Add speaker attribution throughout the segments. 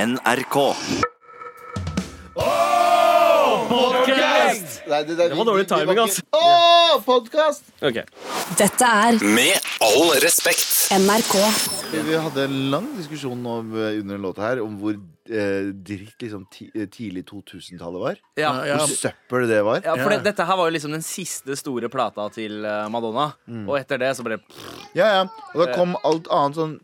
Speaker 1: NRK.
Speaker 2: Nei, det, det,
Speaker 3: var dårlig timing, altså. ass.
Speaker 2: Åh, podkast!
Speaker 3: Ok.
Speaker 4: Dette er
Speaker 1: Med all respekt.
Speaker 4: NRK.
Speaker 2: Vi hadde en lang diskusjon om, eh, under en låt her om hvor eh, dritt liksom, ti, eh, tidlig 2000-tallet var.
Speaker 3: Ja, ja.
Speaker 2: Hvor søppel det var.
Speaker 3: for det, dette her var jo liksom den siste store plata til eh, Madonna.
Speaker 2: Mm.
Speaker 3: Og etter det så ble
Speaker 2: Ja, ja. Og
Speaker 3: Eh.
Speaker 2: da kom alt annet sånn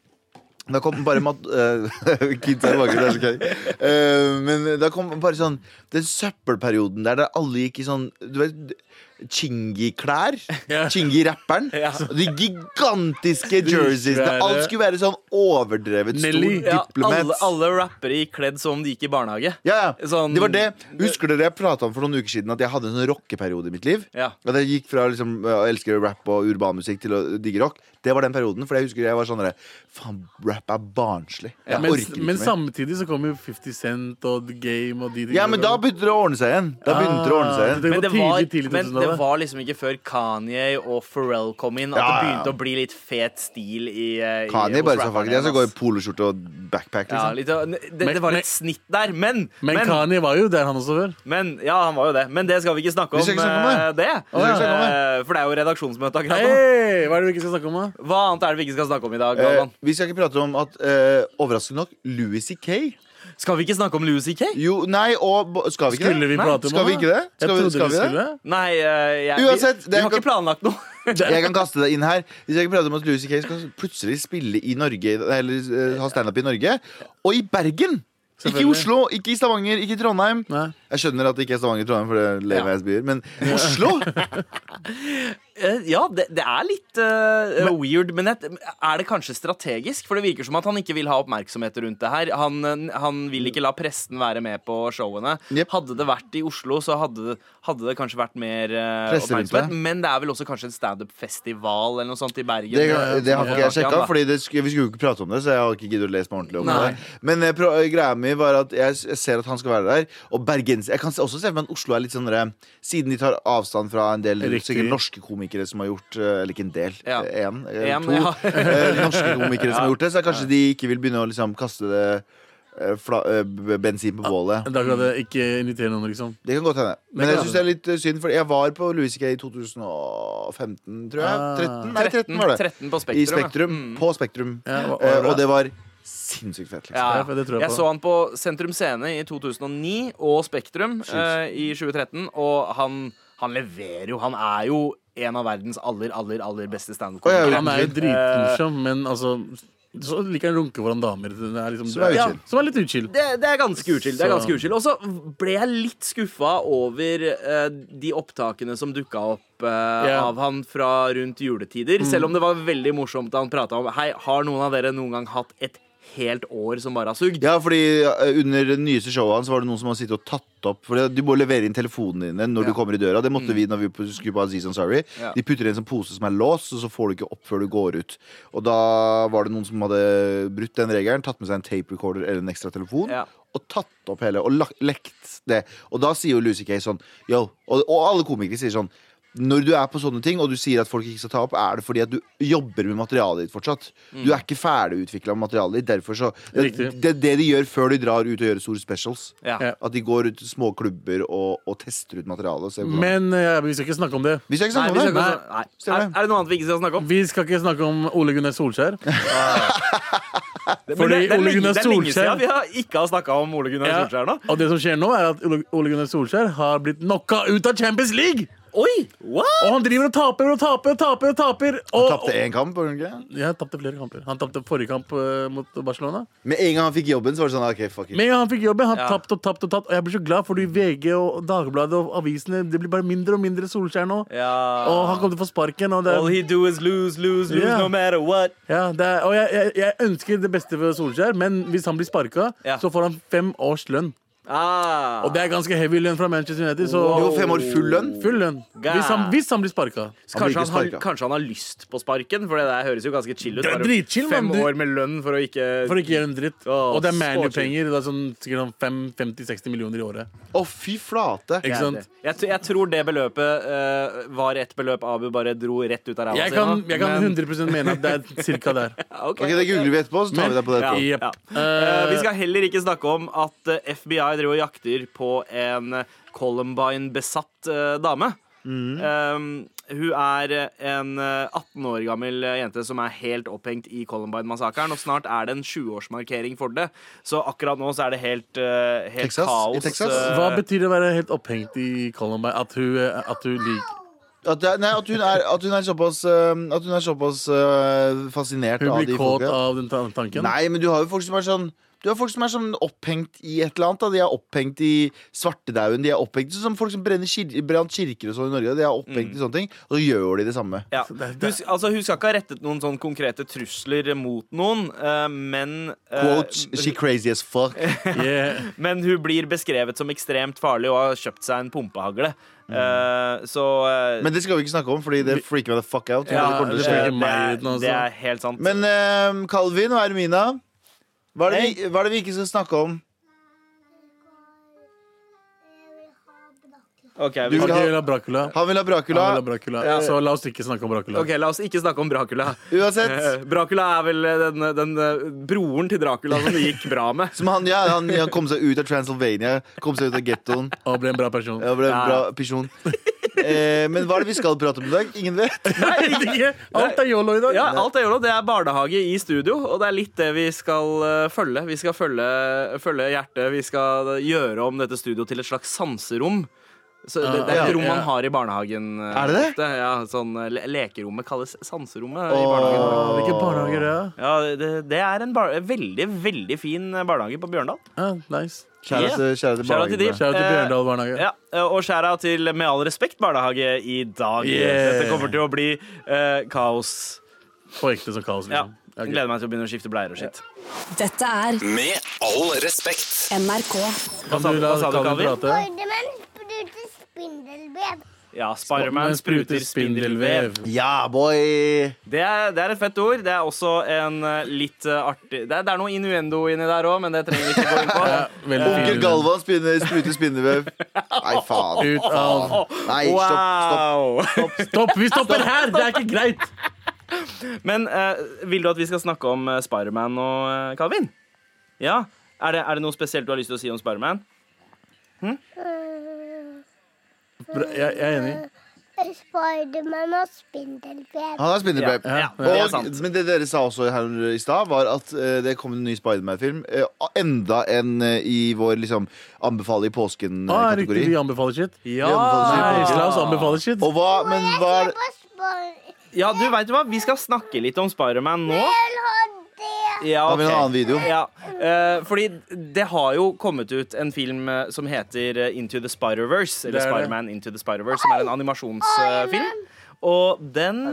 Speaker 2: da kom bare mat... Uh, kids er vakre, det er så gøy. Eh, men da kom bare sånn den søppelperioden der der alle gikk i sånn Du vet Chingy-klær. Chingy-rapperen. Og De gigantiske jerseysene.
Speaker 5: svære-
Speaker 2: Alt skulle være sånn overdrevet
Speaker 5: Nelly.
Speaker 2: stor
Speaker 3: ja,
Speaker 2: diplomat.
Speaker 3: alle, alle rappere gikk kledd som om de gikk i barnehage.
Speaker 2: Ja, ja.
Speaker 3: Sånn-
Speaker 2: det var det. Husker dere jeg prata om for noen uker siden at jeg hadde en sånn rockeperiode i mitt liv?
Speaker 3: Ja.
Speaker 2: At jeg gikk fra liksom, å elske rap og urbanmusikk til å digge rock. Det var den perioden. For jeg husker jeg var sånn derre Faen, rap er barnslig. Jeg
Speaker 5: men,
Speaker 2: orker ikke
Speaker 5: men
Speaker 2: mer.
Speaker 5: samtidig så kom jo 50 Cent og The Game og de tingene.
Speaker 2: Ja, men da begynte det å ordne seg igjen. Da begynte det å ordne seg
Speaker 5: Ah,
Speaker 2: igjen.
Speaker 5: Det
Speaker 3: Men
Speaker 5: var
Speaker 3: det, var,
Speaker 5: tidlig, tidlig
Speaker 3: men det
Speaker 5: 2000-tallet.
Speaker 3: var liksom ikke før Kanye og Pharrell kom inn, at
Speaker 2: Ja, ja,
Speaker 3: det
Speaker 2: ja.
Speaker 3: begynte å bli litt fet stil i, eh, i
Speaker 5: Ah,
Speaker 2: Kanye bare
Speaker 3: hos
Speaker 2: sa
Speaker 3: rapperne
Speaker 2: fuck det,
Speaker 3: igjen,
Speaker 2: så går i
Speaker 3: ass.
Speaker 2: poloskjorte og backpack,
Speaker 3: ja,
Speaker 2: liksom.
Speaker 3: litt, av- det,
Speaker 5: Men-
Speaker 3: det var
Speaker 5: men-
Speaker 3: et snitt der, men,
Speaker 5: Men
Speaker 3: men,
Speaker 5: Kanye var jo der, han også, før.
Speaker 3: men Ja, han var jo det. Men det skal vi ikke snakke
Speaker 2: Vi
Speaker 3: om.
Speaker 2: skal ikke snakke om
Speaker 3: eh, det.
Speaker 2: skal ikke snakke om
Speaker 3: Eh, For det er jo redaksjonsmøte akkurat nå.
Speaker 5: Hei, hva er det vi ikke skal snakke om, da?
Speaker 3: Hva annet er det vi ikke skal snakke om i dag?
Speaker 2: Eh,
Speaker 3: Galvan?
Speaker 2: vi skal ikke prate om at eh, overraskende nok Louis C.K.
Speaker 3: Skal vi ikke snakke om Louis C.K.?
Speaker 2: Jo, nei, og bo- Skal vi ikke
Speaker 5: Skulle vi
Speaker 2: det?
Speaker 5: prate om
Speaker 2: skal vi
Speaker 5: han,
Speaker 2: ikke
Speaker 5: da?
Speaker 2: det? Skal vi,
Speaker 5: Jeg
Speaker 2: skal
Speaker 5: trodde
Speaker 2: vi det?
Speaker 5: skulle.
Speaker 3: Nei, eh, jeg,
Speaker 2: Uansett,
Speaker 3: vi,
Speaker 2: det
Speaker 3: vi
Speaker 2: er
Speaker 3: har
Speaker 2: ikke-
Speaker 3: ikke planlagt noe.
Speaker 2: Jeg kan kaste det inn her. Hvis jeg ikke prater om at Louis C.K. skal plutselig spille i Norge Eller eh, ha standup i Norge. Og i Bergen! Ikke i
Speaker 5: Selvfølgelig.
Speaker 2: Oslo, ikke i Stavanger, ikke i Trondheim.
Speaker 5: Nei.
Speaker 2: Jeg skjønner at det ikke er Stavanger og Trondheim, for det er lame
Speaker 3: Ja.
Speaker 2: ass byer, men Oslo!
Speaker 3: Eh, ja, det, det er litt eh, weird, men et, er det kanskje strategisk? For det virker som at han ikke vil ha oppmerksomhet rundt det her. Han, eh, han vil ikke la pressen være med på showene.
Speaker 2: Jep.
Speaker 3: Hadde det vært i Oslo, så hadde, det- hadde det kanskje vært mer eh,
Speaker 2: Presse rundt det.
Speaker 3: oppmerksomhet. Men det er vel også kanskje en standup-festival eller noe sånt i Bergen. eh,
Speaker 2: Det, det har
Speaker 3: Ja,
Speaker 2: ikke jeg
Speaker 3: ja, da.
Speaker 2: sjekka, for vi skulle jo ikke prate om det. Så jeg har ikke giddet å lese meg ordentlig om
Speaker 3: Nei.
Speaker 2: det. Men eh, pro greia mi var at jeg, s- jeg ser at han skal være der. Og bergens Jeg kan s- også se for meg at Oslo er litt sånn der, Siden de tar avstand fra en del
Speaker 5: Riktig.
Speaker 2: sikkert norske komikere som har gjort eh, Eller ikke en del,
Speaker 3: Ja.
Speaker 2: én eller
Speaker 3: En,
Speaker 2: to.
Speaker 3: ja.
Speaker 2: eh, norske komikere som har gjort det, så kanskje de ikke vil begynne å liksom kaste det eh, fla, eh, b- bensin på bålet.
Speaker 5: Da kan jeg ikke invitere noen, liksom.
Speaker 2: Det kan godt hende. Men
Speaker 5: kan
Speaker 2: jeg syns det er litt eh, synd, for jeg var på Louis C.K. i 2015, tror jeg.
Speaker 5: Ah.
Speaker 2: 13? Nei, 13 var det.
Speaker 3: 13 på
Speaker 2: I
Speaker 3: Spektrum. ja. Mm.
Speaker 2: Spektrum. På Spektrum.
Speaker 5: Ja, hva- hva
Speaker 2: Eh,
Speaker 5: var det?
Speaker 2: og det var sinnssykt fett. Liksom.
Speaker 3: Ja,
Speaker 5: Ja, for det tror jeg
Speaker 3: jeg
Speaker 5: på.
Speaker 3: så han på Sentrum Scene i 2009 og Spektrum eh, i 2013, og han, han leverer jo. Han er jo en av verdens aller, aller, aller beste
Speaker 2: Å, ja,
Speaker 3: standup-komikere.
Speaker 5: Han er jo dritmorsom, men altså så liker han runke foran damer. Det er liksom,
Speaker 2: Som er
Speaker 5: ja,
Speaker 2: utchill.
Speaker 5: som er litt utchill.
Speaker 3: Det, det er ganske uchill. det er
Speaker 5: Så-
Speaker 3: ganske uchill. Og så ble jeg litt skuffa over eh, de opptakene som dukka opp eh,
Speaker 5: Ja. Mm.
Speaker 3: av han fra rundt juletider. Selv om det var veldig morsomt da han prata om Hei, har noen av dere noen gang hatt et helt år som bare har sugd?
Speaker 2: Ja, fordi eh, Under det nyeste showet hans var det noen som har sittet og tatt opp. For det- Du må levere inn telefonene dine når du kommer i døra. Det måtte vi når vi på- skulle på Aziz Ansari.
Speaker 3: Mm. Ja.
Speaker 2: De putter i en sånn pose som er låst, og så får du ikke opp før du går ut. Og da var det noen som hadde brutt den regelen, tatt med seg en tape recorder eller en ekstra telefon.
Speaker 3: Ja.
Speaker 2: Og tatt opp hele, og lagt, lekt det. Og da sier jo Lucy Kay sånn Yo. Og, og alle komikere sier sånn når du er på sånne ting, og du sier at folk ikke skal ta opp, er det fordi at du jobber med materialet ditt fortsatt.
Speaker 3: Mm.
Speaker 2: Du er ikke ferdigutvikla med materialet ditt. Derfor så det,
Speaker 5: Riktig.
Speaker 2: det, det de gjør før de drar ut og gjør store specials.
Speaker 3: Ja.
Speaker 5: Ja.
Speaker 2: At de går ut til små klubber og, og tester ut materialet. Og ser hvordan-
Speaker 5: Men eh, vi skal ikke snakke om det.
Speaker 2: vi skal ikke
Speaker 3: Nei,
Speaker 2: snakke
Speaker 3: vi skal
Speaker 2: om det.
Speaker 3: ikke, nei. Er,
Speaker 2: Stemmer.
Speaker 3: er det noe annet vi ikke skal snakke om?
Speaker 5: Vi skal ikke snakke om Ole Gunnar Solskjær.
Speaker 3: Men
Speaker 5: Fordi
Speaker 3: det, det, er
Speaker 5: Ole
Speaker 3: lenge,
Speaker 5: Gunnar
Speaker 3: det er lenge
Speaker 5: Solskjær-
Speaker 3: siden vi har ikke har snakka om Ole Gunnar
Speaker 5: Ja,
Speaker 3: Solskjær nå.
Speaker 5: Og det som skjer nå, er at Ole- Ole Gunnar Solskjær har blitt knocka ut av Champions League!
Speaker 3: Oi, what?
Speaker 5: Og han driver og taper og taper og taper. og taper og,
Speaker 2: Tapte én kamp. var det ikke det?
Speaker 5: Ja, han tapte flere kamper. Han tapte forrige kamp eh, mot Barcelona.
Speaker 2: Med en gang han fikk jobben, så var det sånn OK, fuck it.
Speaker 5: Men han fikk jobben. Han
Speaker 3: Ja.
Speaker 5: tapt og tapt og tapt. Og jeg blir så glad, fordi VG og Dagbladet og avisene Det blir bare mindre og mindre Solskjær nå.
Speaker 3: Ja.
Speaker 5: Og han kommer til å få sparken. Og, det,
Speaker 3: All he do is lose, lose, lose
Speaker 5: Ja.
Speaker 3: no matter what.
Speaker 5: ja, det er, og jeg, jeg, jeg ønsker det beste for Solskjær, men hvis han blir sparka,
Speaker 3: Ja.
Speaker 5: så får han fem års lønn.
Speaker 3: Ah.
Speaker 5: Og det er ganske heavy lønn fra Manchester United. Så
Speaker 2: Det var fem år full lønn.
Speaker 5: full lønn. Hvis han, hvis han blir sparka.
Speaker 3: Så kanskje,
Speaker 2: Han blir
Speaker 3: han
Speaker 2: ikke
Speaker 3: har,
Speaker 2: sparket.
Speaker 3: kanskje han har lyst på sparken, for det der høres jo ganske chill ut.
Speaker 5: Det er
Speaker 3: Bare
Speaker 5: dritchill,
Speaker 3: Fem
Speaker 5: mann. Du-
Speaker 3: år med lønn for å ikke
Speaker 5: For å ikke gjøre en dritt.
Speaker 3: Åh,
Speaker 5: Og det er
Speaker 3: så
Speaker 5: ManU-penger. Det er sånn, sikkert sånn fem- 50-60 millioner i året.
Speaker 2: Å, fy flate.
Speaker 5: Ikke sant?
Speaker 3: Jeg, t- jeg tror det beløpet eh, var et beløp Abu bare dro rett ut av ræva
Speaker 5: Jeg kan, jeg kan 100 mene at det er cirka der.
Speaker 3: Ah, Ok.
Speaker 2: Ok, Det googler vi etterpå, så tar vi deg på det etterpå.
Speaker 5: Jep.
Speaker 3: Ja.
Speaker 5: Eh,
Speaker 3: Eh, vi skal heller ikke snakke om at eh, FBI driver og jakter på en eh, Columbine-besatt eh, dame.
Speaker 2: Mm.
Speaker 3: Eh, hun er eh, en eh, 18 år gammel eh, jente som er helt opphengt i Columbine-massakren. Og snart er det en 20-årsmarkering for det, så akkurat nå så er det helt, eh, helt
Speaker 2: Texas? I
Speaker 3: kaos.
Speaker 2: Texas?
Speaker 3: eh,
Speaker 5: Hva betyr det å være helt opphengt i Columbine? At hun, eh, at hun liker
Speaker 2: At, det er- nei, at, hun er, at hun er såpass, eh, at hun er såpass eh, fascinert
Speaker 5: Hun
Speaker 2: av
Speaker 5: blir
Speaker 2: de
Speaker 5: kåt
Speaker 2: folka.
Speaker 5: av den tan- tanken?
Speaker 2: Nei, men du har jo folk som er sånn du har folk som er sånn opphengt i et eller annet. Da. De er opphengt i svartedauden. De er opphengt sånn som folk som brenner kir brant kirker og sånn i Norge. De er opphengt i sånne ting, og så gjør de det samme.
Speaker 3: Ja.
Speaker 5: det er-
Speaker 3: Hun, s- altså, hun skal ikke ha rettet noen sånn konkrete trusler mot noen, eh, men eh,
Speaker 2: Quote, she crazy as fuck.
Speaker 5: Yeah.
Speaker 3: Men hun blir beskrevet som ekstremt farlig og har kjøpt seg en pumpehagle. Eh, så eh,
Speaker 2: Mm. Men det skal vi ikke snakke om, fordi det freaker meg the fuck out.
Speaker 5: Ja,
Speaker 2: det kommer til å
Speaker 5: det
Speaker 2: skje.
Speaker 5: freaker
Speaker 3: eh, det,
Speaker 5: meg
Speaker 3: er,
Speaker 5: ut nå, altså.
Speaker 3: det er helt sant.
Speaker 2: Men eh, Calvin og Ermina, hva er, det vi, hva er det vi ikke skal snakke om?
Speaker 3: Ok,
Speaker 2: Du
Speaker 3: vi,
Speaker 5: Ok,
Speaker 2: vil ha-
Speaker 5: vi vil ha Dracula.
Speaker 2: Han vil ha
Speaker 5: Han
Speaker 2: Dracula.
Speaker 5: vil ha Dracula. Så la oss ikke snakke om Dracula.
Speaker 3: ok, la oss ikke snakke om Dracula.
Speaker 2: Uansett.
Speaker 3: Eh, Dracula er vel eh, den, den eh, broren til Dracula som det gikk bra med.
Speaker 2: Som han, ja, han, han kom seg ut av Transylvania, kom seg ut av gettoen.
Speaker 5: Og bli en bra person.
Speaker 2: Ja, ble en
Speaker 3: Ja.
Speaker 2: bra person. Eh, men hva er det vi skal prate om i dag? Ingen vet.
Speaker 5: Alt er yolo i dag.
Speaker 3: Ja, alt er jo det. Det er barnehage i studio, og det er litt det vi skal eh, følge. Vi skal følge, følge hjertet. Vi skal gjøre om dette studio til et slags sanserom. Så det, det er
Speaker 2: Ja,
Speaker 3: et rom
Speaker 5: ja.
Speaker 3: man har i barnehagen. eh,
Speaker 2: Er det det?
Speaker 3: ofte. Ja, sånn, eh, le lekerommet kalles sanserommet i
Speaker 2: Åh.
Speaker 3: barnehagen.
Speaker 5: Hvilke barnehager det er?
Speaker 3: Ja, det, det er en bar veldig, veldig fin barnehage på Bjørndal.
Speaker 5: Ja, nice.
Speaker 2: Kjære til, kjære til
Speaker 3: Kjære til de.
Speaker 2: barnehagen.
Speaker 5: Shout out til
Speaker 3: Eh,
Speaker 5: Bjørndal barnehage.
Speaker 3: Ja, eh, Og skjæra til Med all respekt barnehage i dag.
Speaker 5: Yeah.
Speaker 3: Dette kommer til å bli eh, kaos.
Speaker 5: På ekte som kaos,
Speaker 3: Ja.
Speaker 5: liksom. Ja, ok.
Speaker 3: Gleder meg til å begynne å skifte bleier og skitt.
Speaker 4: Dette er
Speaker 1: Med all respekt.
Speaker 4: NRK.
Speaker 5: Kan
Speaker 3: sa-
Speaker 5: du la
Speaker 3: hva sa du,
Speaker 5: Kaveh
Speaker 3: Kaveh?
Speaker 5: prate?
Speaker 6: Spiderman spruter spindelvev.
Speaker 3: Ja, Spiderman spruter spindelvev.
Speaker 2: Ja, boy!
Speaker 3: Det er, det er et fett ord. Det er også en eh, litt eh, artig Det er, det er noe innuendo inni der òg, men det trenger vi ikke gå inn på.
Speaker 5: Ja, veldig
Speaker 2: Onkel
Speaker 5: fin.
Speaker 2: Galvan spinner, spruter spinnevev. Nei, faen.
Speaker 5: Ut av
Speaker 2: Nei, stopp.
Speaker 3: Wow.
Speaker 5: Stopp! Vi stopper her! Det er ikke greit!
Speaker 3: Men eh, vil du at vi skal snakke om eh, Spiderman og eh, Calvin? Ja? Er det, er det noe spesielt du har lyst til å si om Spiderman?
Speaker 5: Bra, Jeg, jeg er enig.
Speaker 6: Spiderman og spindelvev.
Speaker 2: Han er spinnevev.
Speaker 3: Ja, det er
Speaker 2: Og,
Speaker 3: sant.
Speaker 2: men det dere sa også her i stad, var at eh, det kom en ny Spiderman-film. eh, enda en eh, i vår liksom, anbefale i eh,
Speaker 5: Ah, riktig,
Speaker 2: påsken-kategori.
Speaker 5: vi anbefaler shit.
Speaker 3: Ja,
Speaker 2: anbefaler
Speaker 5: Nice,
Speaker 2: shit.
Speaker 5: la oss anbefale shit.
Speaker 2: Og hva, men
Speaker 6: Jeg
Speaker 2: hva
Speaker 6: ser
Speaker 2: er
Speaker 6: på Spar-
Speaker 3: ja du veit hva, vi skal snakke litt om Spiderman nå.
Speaker 6: Jeg vil ha det.
Speaker 3: Ja,
Speaker 2: Han vil ha en
Speaker 3: ok.
Speaker 2: annen video.
Speaker 3: Ja, eh, fordi det har jo kommet ut en film eh, som heter eh, Into the Spider-Verse. Eller
Speaker 5: Det er det.
Speaker 3: Spider-Man Into the Spider-Verse, som er en animasjonsfilm. Og den,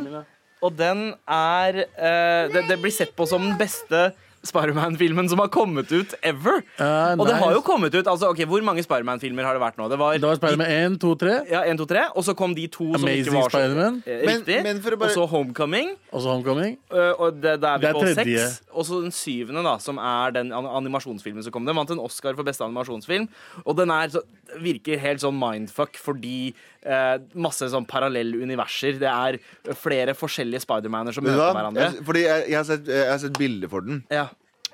Speaker 3: og den er eh, det, det blir sett på som den beste Spiderman-filmen som har kommet ut ever.
Speaker 5: Ah,
Speaker 3: Og det har jo
Speaker 5: nice.
Speaker 3: kommet ut altså, ok, Hvor mange Spiderman-filmer har det vært nå? Det var,
Speaker 5: Det var Spiderman 1, 2, 3.
Speaker 3: ja, 1, 2, 3, og så kom de to som ikke
Speaker 5: Amazing
Speaker 3: var så
Speaker 5: Spiderman.
Speaker 3: eh,
Speaker 2: Men-
Speaker 3: riktig.
Speaker 2: men for å bare-
Speaker 3: Og så Homecoming.
Speaker 5: Og så Homecoming.
Speaker 3: Øh, og det, da er vi
Speaker 5: Det er
Speaker 3: på
Speaker 5: tredje.
Speaker 3: seks. Og så den syvende, da, som er den an- animasjonsfilmen som kom. Den vant en Oscar for beste animasjonsfilm. Og den er så, virker helt sånn mindfuck fordi eh, masse sånn parallelluniverser. Det er flere forskjellige Spidermaner som
Speaker 2: Vet
Speaker 3: møter
Speaker 2: du hva?
Speaker 3: hverandre.
Speaker 2: Jeg, fordi jeg, jeg, har sett, jeg har sett bilder for den,
Speaker 3: Ja.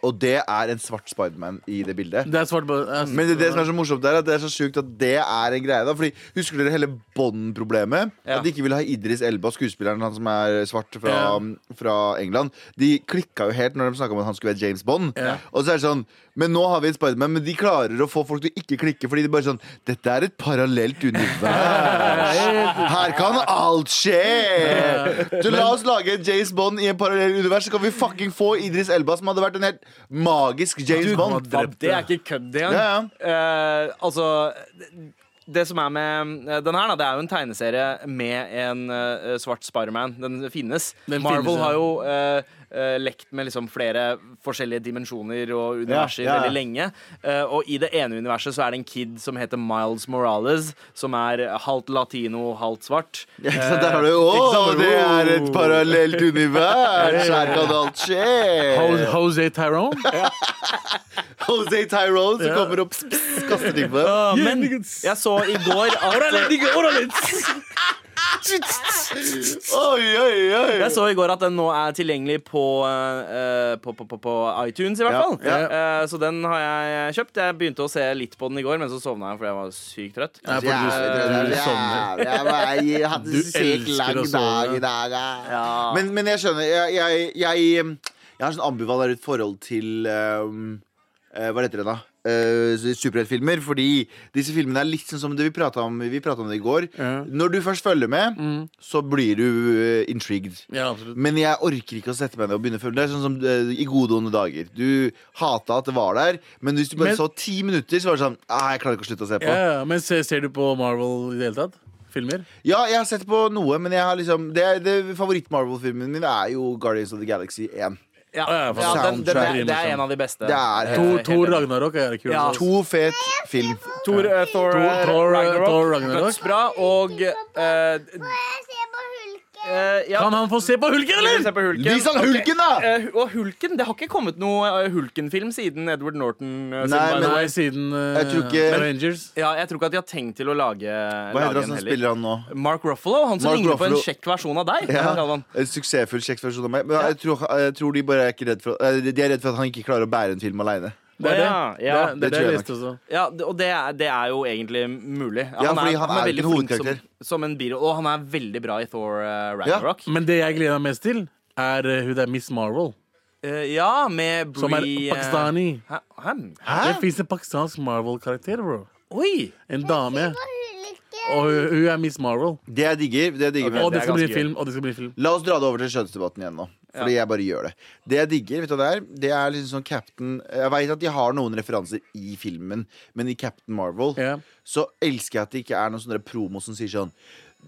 Speaker 2: og det er en svart Spiderman i det bildet.
Speaker 5: Det er svart på eh,
Speaker 2: Men det, det som er så morsomt der, er at det er så sjukt at det er en greie. da Fordi Husker dere hele Bond-problemet?
Speaker 3: Ja.
Speaker 2: At de ikke ville ha Idris Elba, skuespilleren han som er svart fra,
Speaker 5: Ja.
Speaker 2: fra England. De klikka jo helt når de snakka om at han skulle være James Bond.
Speaker 5: Ja.
Speaker 2: Og så er det sånn Men nå har vi en Spiderman, men de klarer å få folk til å ikke klikke fordi de bare sånn Dette er et parallelt univers. Her kan alt skje! Så la oss lage en James Bond i en parallell univers, så kan vi fucking få Idris Elba, som hadde vært en helt magisk James
Speaker 3: Du,
Speaker 2: Bond.
Speaker 3: hva, det er ikke kødd engang.
Speaker 2: Ja, ja.
Speaker 3: Eh, altså det som er med eh, den her, da, det er jo en tegneserie med en eh, svart Spiderman. Den finnes.
Speaker 5: Den
Speaker 3: Marvel
Speaker 5: finnes, ja.
Speaker 3: har jo eh, eh, lekt med liksom flere forskjellige dimensjoner og universer
Speaker 2: Ja, ja.
Speaker 3: veldig lenge. Eh, og i det ene universet så er det en kid som heter Miles Morales, som er halvt latino, halvt svart.
Speaker 2: Ja, ikke sant? Der har du Å, det er et parallelt univers! Her kan alt skje!
Speaker 5: Jose Tyrone.
Speaker 2: Jose Tyrone som kommer opp og kaster ting på deg.
Speaker 3: Ja, men jeg så i går at
Speaker 2: Oi, oi, oi!
Speaker 3: Jeg så i går at den nå er tilgjengelig på, eh, på, på, på, på iTunes, i hvert
Speaker 2: Ja,
Speaker 3: fall.
Speaker 2: ja.
Speaker 3: Eh, så den har jeg kjøpt. Jeg begynte å se litt på den i går, men så sovna jeg fordi jeg var sykt trøtt.
Speaker 5: Ja, for du-
Speaker 2: Jævlig,
Speaker 5: du sovner.
Speaker 2: jævlig. Jeg var- Jeg hadde
Speaker 5: Du
Speaker 2: en sykt
Speaker 5: elsker
Speaker 2: lang
Speaker 5: å
Speaker 2: dag
Speaker 5: sove.
Speaker 2: i dag. jeg.
Speaker 3: Ja.
Speaker 2: Men, men jeg skjønner. Jeg, jeg, jeg, jeg har sånn ambivalent forhold til ehm, eh, Hva heter det da? Eh, Superheltfilmer. Fordi disse filmene er litt sånn som det vi prata om, vi pratet om det i går.
Speaker 5: Ja. Mm.
Speaker 2: Når du først følger med, så blir du eh, intrigued.
Speaker 5: Ja, absolutt.
Speaker 2: Men jeg orker ikke å sette meg ned og begynne å følge. Det er sånn som eh, i gode og onde dager. Du hata at det var der, men hvis du bare
Speaker 5: Men-
Speaker 2: så ti minutter, så var det sånn ah, Jeg klarer ikke å slutte å se på.
Speaker 5: Ja, ja, men ser, ser du på Marvel i det hele tatt? Filmer?
Speaker 2: Ja, jeg har sett på noe, men jeg har liksom det, det Favoritt-Marvel-filmen min er jo Guardians of the Galaxy 1.
Speaker 3: ja.
Speaker 5: Ja, ja, for
Speaker 3: ja, den, den,
Speaker 5: soundtrack-
Speaker 3: er- det er en av de beste.
Speaker 2: Det er helt-
Speaker 5: Thor
Speaker 3: Helt
Speaker 5: Thor
Speaker 3: enig.
Speaker 5: Ragnarok er kul.
Speaker 3: Ja.
Speaker 5: altså.
Speaker 2: To fet film.
Speaker 3: Thor, eh, Thor,
Speaker 5: Thor-
Speaker 3: eh,
Speaker 5: Thor-
Speaker 3: Ragnarok.
Speaker 5: Thor Ragnarok.
Speaker 3: Dødsbra. Og eh, d-
Speaker 6: Får jeg se på hulken?
Speaker 3: eh, ja,
Speaker 5: Kan han få se på hulken,
Speaker 3: vi
Speaker 5: eller?!
Speaker 3: ser på Hulken.
Speaker 2: Vis han
Speaker 3: Ok.
Speaker 2: hulken, da!
Speaker 3: Eh, og Hulken, Det har ikke kommet noe eh, Hulken-film siden Edward Norton. eh, sin
Speaker 2: Nei,
Speaker 3: Bible.
Speaker 2: men-
Speaker 5: Nei, siden eh,
Speaker 2: Jeg tror ikke-
Speaker 5: Avengers.
Speaker 3: ja, jeg tror ikke at de har tenkt til å lage,
Speaker 2: Hva heter
Speaker 3: lage
Speaker 2: han
Speaker 3: en
Speaker 2: som
Speaker 3: heller.
Speaker 2: spiller han nå?
Speaker 3: Mark Ruffalo, han som
Speaker 2: Mark
Speaker 3: ligner på
Speaker 2: Ruffalo.
Speaker 3: en kjekk versjon av deg.
Speaker 2: Ja,
Speaker 3: Galvan.
Speaker 2: en suksessfull kjekkversjon av meg. Men jeg tror, jeg tror de bare er ikke redd for eh, De er redd for at han ikke klarer å bære en film aleine.
Speaker 5: Det er det.
Speaker 3: Ja, ja,
Speaker 5: det, er- det, er
Speaker 2: det
Speaker 5: det
Speaker 2: tror
Speaker 5: jeg
Speaker 2: jeg
Speaker 5: leste også.
Speaker 3: Ja, det- og det er, det er jo egentlig mulig.
Speaker 2: Ja, fordi han er ikke
Speaker 3: veldig
Speaker 2: en
Speaker 3: flink som,
Speaker 2: hovedkarakter.
Speaker 3: som en biro, og han er veldig bra i Thor eh, Ragnarok. Ja,
Speaker 5: Men det jeg gleder meg mest til, er eh, hun der Miss Marvel,
Speaker 3: Eh, ja med Bree
Speaker 5: som er
Speaker 3: eh,
Speaker 5: pakistani.
Speaker 3: hæ- Hæ?
Speaker 5: Det fins en pakistansk Marvel-karakter, bro.
Speaker 3: Oi!
Speaker 5: En dame.
Speaker 6: På hulken?
Speaker 5: Og hun, hun er Miss Marvel.
Speaker 2: Det jeg digger, det jeg digger
Speaker 3: Ok,
Speaker 2: med
Speaker 5: Og
Speaker 3: det
Speaker 5: det
Speaker 3: er
Speaker 5: skal bli
Speaker 3: ganske
Speaker 5: film. Og det skal bli film.
Speaker 2: La oss dra det over til kjønnsdebatten igjen nå. Fordi jeg bare gjør det. Det jeg digger, vet du hva det er? Det er liksom sånn Captain Jeg veit at de har noen referanser i filmen, men i Captain Marvel
Speaker 5: Ja.
Speaker 2: så elsker jeg at det ikke er noen sånne promo som sier sånn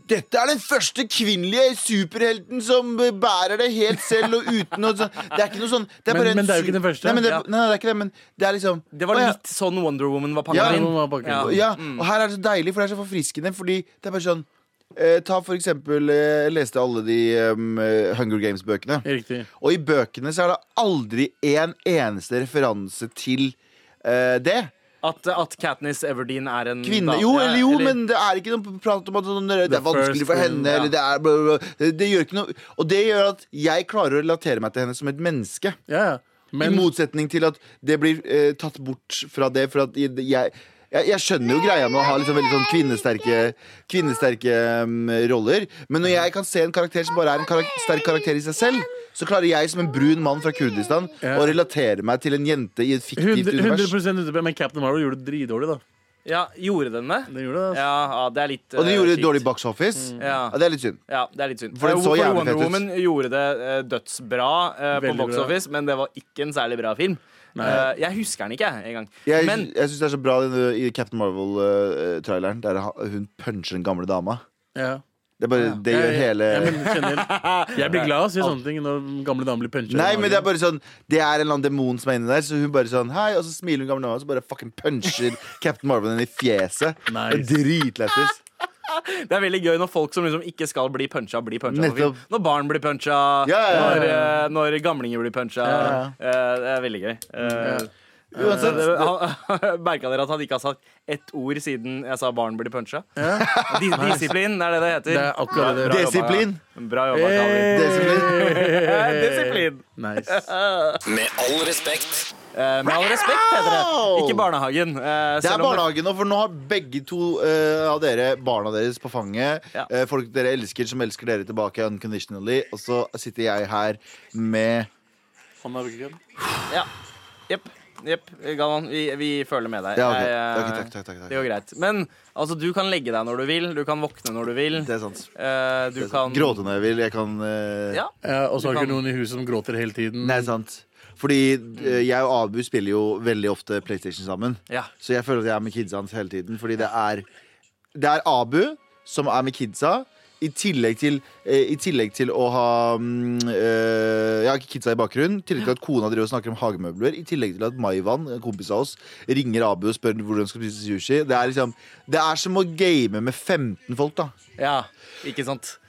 Speaker 2: dette er den første kvinnelige superhelten som bærer det helt selv og uten å sånn. Det er ikke noe sånn det er
Speaker 5: Men-
Speaker 2: bare en
Speaker 5: men det er jo
Speaker 2: su-
Speaker 5: ikke den første.
Speaker 2: Nei, men det,
Speaker 3: Ja.
Speaker 2: nei, det er ikke det, men det er liksom
Speaker 3: Det var
Speaker 2: Å, ja.
Speaker 3: litt sånn Wonder Woman var pakket
Speaker 2: Ja,
Speaker 3: inn.
Speaker 5: Wonder Woman var pakket
Speaker 3: Ja.
Speaker 5: inn.
Speaker 2: Ja, og her er det så deilig, for det er så forfriskende. Fordi det er bare sånn eh, Ta for eksempel eh, Jeg leste alle de em, eh, Hunger Games-bøkene.
Speaker 5: Riktig.
Speaker 2: Og i bøkene så er det aldri en eneste referanse til eh, det.
Speaker 3: At, at Katniss Everdeen er en
Speaker 2: Kvinne
Speaker 3: dame.
Speaker 2: Jo,
Speaker 3: Ja,
Speaker 2: eller jo, men det er ikke noe prat om at sånn, det
Speaker 5: The
Speaker 2: er vanskelig for
Speaker 5: first
Speaker 2: henne.
Speaker 5: woman,
Speaker 2: Eller det, er bla, bla, bla. Det, det gjør ikke noe Og det gjør at jeg klarer å relatere meg til henne som et menneske.
Speaker 5: Ja, ja. Men
Speaker 2: I motsetning til at det blir eh, tatt bort fra det. For at jeg, jeg, jeg skjønner jo greia med å ha liksom veldig sånn kvinnesterke, kvinnesterke mm, roller. Men når jeg kan se en karakter som bare er en karak sterk karakter i seg selv, så klarer jeg som en brun mann fra Kurdistan
Speaker 5: Ja.
Speaker 2: å relatere meg til en jente i et
Speaker 5: 100,
Speaker 2: fiktivt
Speaker 5: 100
Speaker 2: univers.
Speaker 5: underbe- Men Captain Marvel gjorde det dritdårlig, da.
Speaker 3: Ja, Gjorde den det?
Speaker 5: Den gjorde det, altså.
Speaker 3: Ja, ja, det er litt
Speaker 2: Og det
Speaker 3: eh,
Speaker 2: gjorde
Speaker 3: kjipt.
Speaker 2: dårlig box office.
Speaker 3: Ja.
Speaker 2: Ja, det er litt synd.
Speaker 3: Ja, det er litt synd.
Speaker 2: For den så
Speaker 3: Hvorfor
Speaker 2: jævlig
Speaker 3: Wonder
Speaker 2: fet ut.
Speaker 3: Woman gjorde det eh, dødsbra eh, på
Speaker 5: Veldig
Speaker 3: Box
Speaker 5: bra.
Speaker 3: Office, men det var ikke en særlig bra film. Eh, jeg husker den ikke jeg, engang.
Speaker 2: Jeg,
Speaker 3: Men
Speaker 2: jeg syns det er så bra denne, i Captain Marvel-traileren, der ha- hun puncher den gamle dama.
Speaker 5: Ja.
Speaker 2: Det, er bare, det gjør
Speaker 5: Jeg-
Speaker 2: hele
Speaker 5: jeg, men, kjenner, jeg blir glad av å se sånne ting når gamle damer blir punchet. i
Speaker 2: Nei, men det er
Speaker 5: magen.
Speaker 2: bare sånn Det er en eller annen demon som er inni der, så hun bare sånn Hei, og så smiler hun gamle dama, og så bare fucking puncher Captain Marvel henne i fjeset.
Speaker 5: Nice.
Speaker 2: Det er Dritlættis.
Speaker 3: det er veldig gøy når folk som liksom ikke skal bli puncha, blir puncha. på film.
Speaker 2: Nettopp.
Speaker 3: Når barn blir puncha,
Speaker 2: Ja, ja, ja,
Speaker 3: Når, eh, når gamlinger blir puncha. Eh, det er veldig gøy. Uh,
Speaker 2: Uansett.
Speaker 3: Merka dere at han ikke har sagt ett ord siden jeg sa barn blir puncha? Dis disiplin, det er det det heter.
Speaker 5: Det er akkurat det.
Speaker 3: Bra jobba.
Speaker 2: Disiplin.
Speaker 3: Bra jobba, Kali.
Speaker 2: Desiplin.
Speaker 3: Eh, Disiplin.
Speaker 5: Nice.
Speaker 1: Med all respekt.
Speaker 3: Eh, Med all respekt, heter det. Ikke barnehagen. eh,
Speaker 2: Det er
Speaker 3: selv om
Speaker 2: barnehagen nå, for nå har begge to eh, av dere barna deres på fanget.
Speaker 3: Ja.
Speaker 2: Eh, folk dere elsker, som elsker dere tilbake unconditionally. Og så sitter jeg her med
Speaker 3: Ja. Jepp. Jepp. Galvan, vi, vi føler med deg.
Speaker 2: Ja, ok.
Speaker 3: Jeg, eh,
Speaker 2: Ok, takk, takk, takk, takk.
Speaker 3: Det går greit. Men altså, du kan legge deg når du vil. Du kan våkne når du vil.
Speaker 2: Det er sant.
Speaker 3: Eh, du kan
Speaker 2: Gråte når jeg vil. Jeg kan eh,
Speaker 3: Ja.
Speaker 5: Ja, og så har
Speaker 3: Du
Speaker 5: ikke
Speaker 3: kan-
Speaker 5: noen i huset som gråter hele tiden.
Speaker 2: Nei, sant. Fordi eh, jeg og Abu spiller jo veldig ofte PlayStation sammen.
Speaker 3: Ja.
Speaker 2: Så jeg føler at jeg er med kidsa hans hele tiden. Fordi det er det er Abu som er med kidsa. I tillegg til, eh, i tillegg til å ha mm, eh, Ja, kidsa i bakgrunnen. I tillegg til at kona driver og snakker om hagemøbler. I tillegg til at Maivan, en kompis av oss, ringer Abu og spør hvor de skal spise sushi. Det er, liksom, det er som å game med 15 folk, da.
Speaker 3: Ja, ikke sant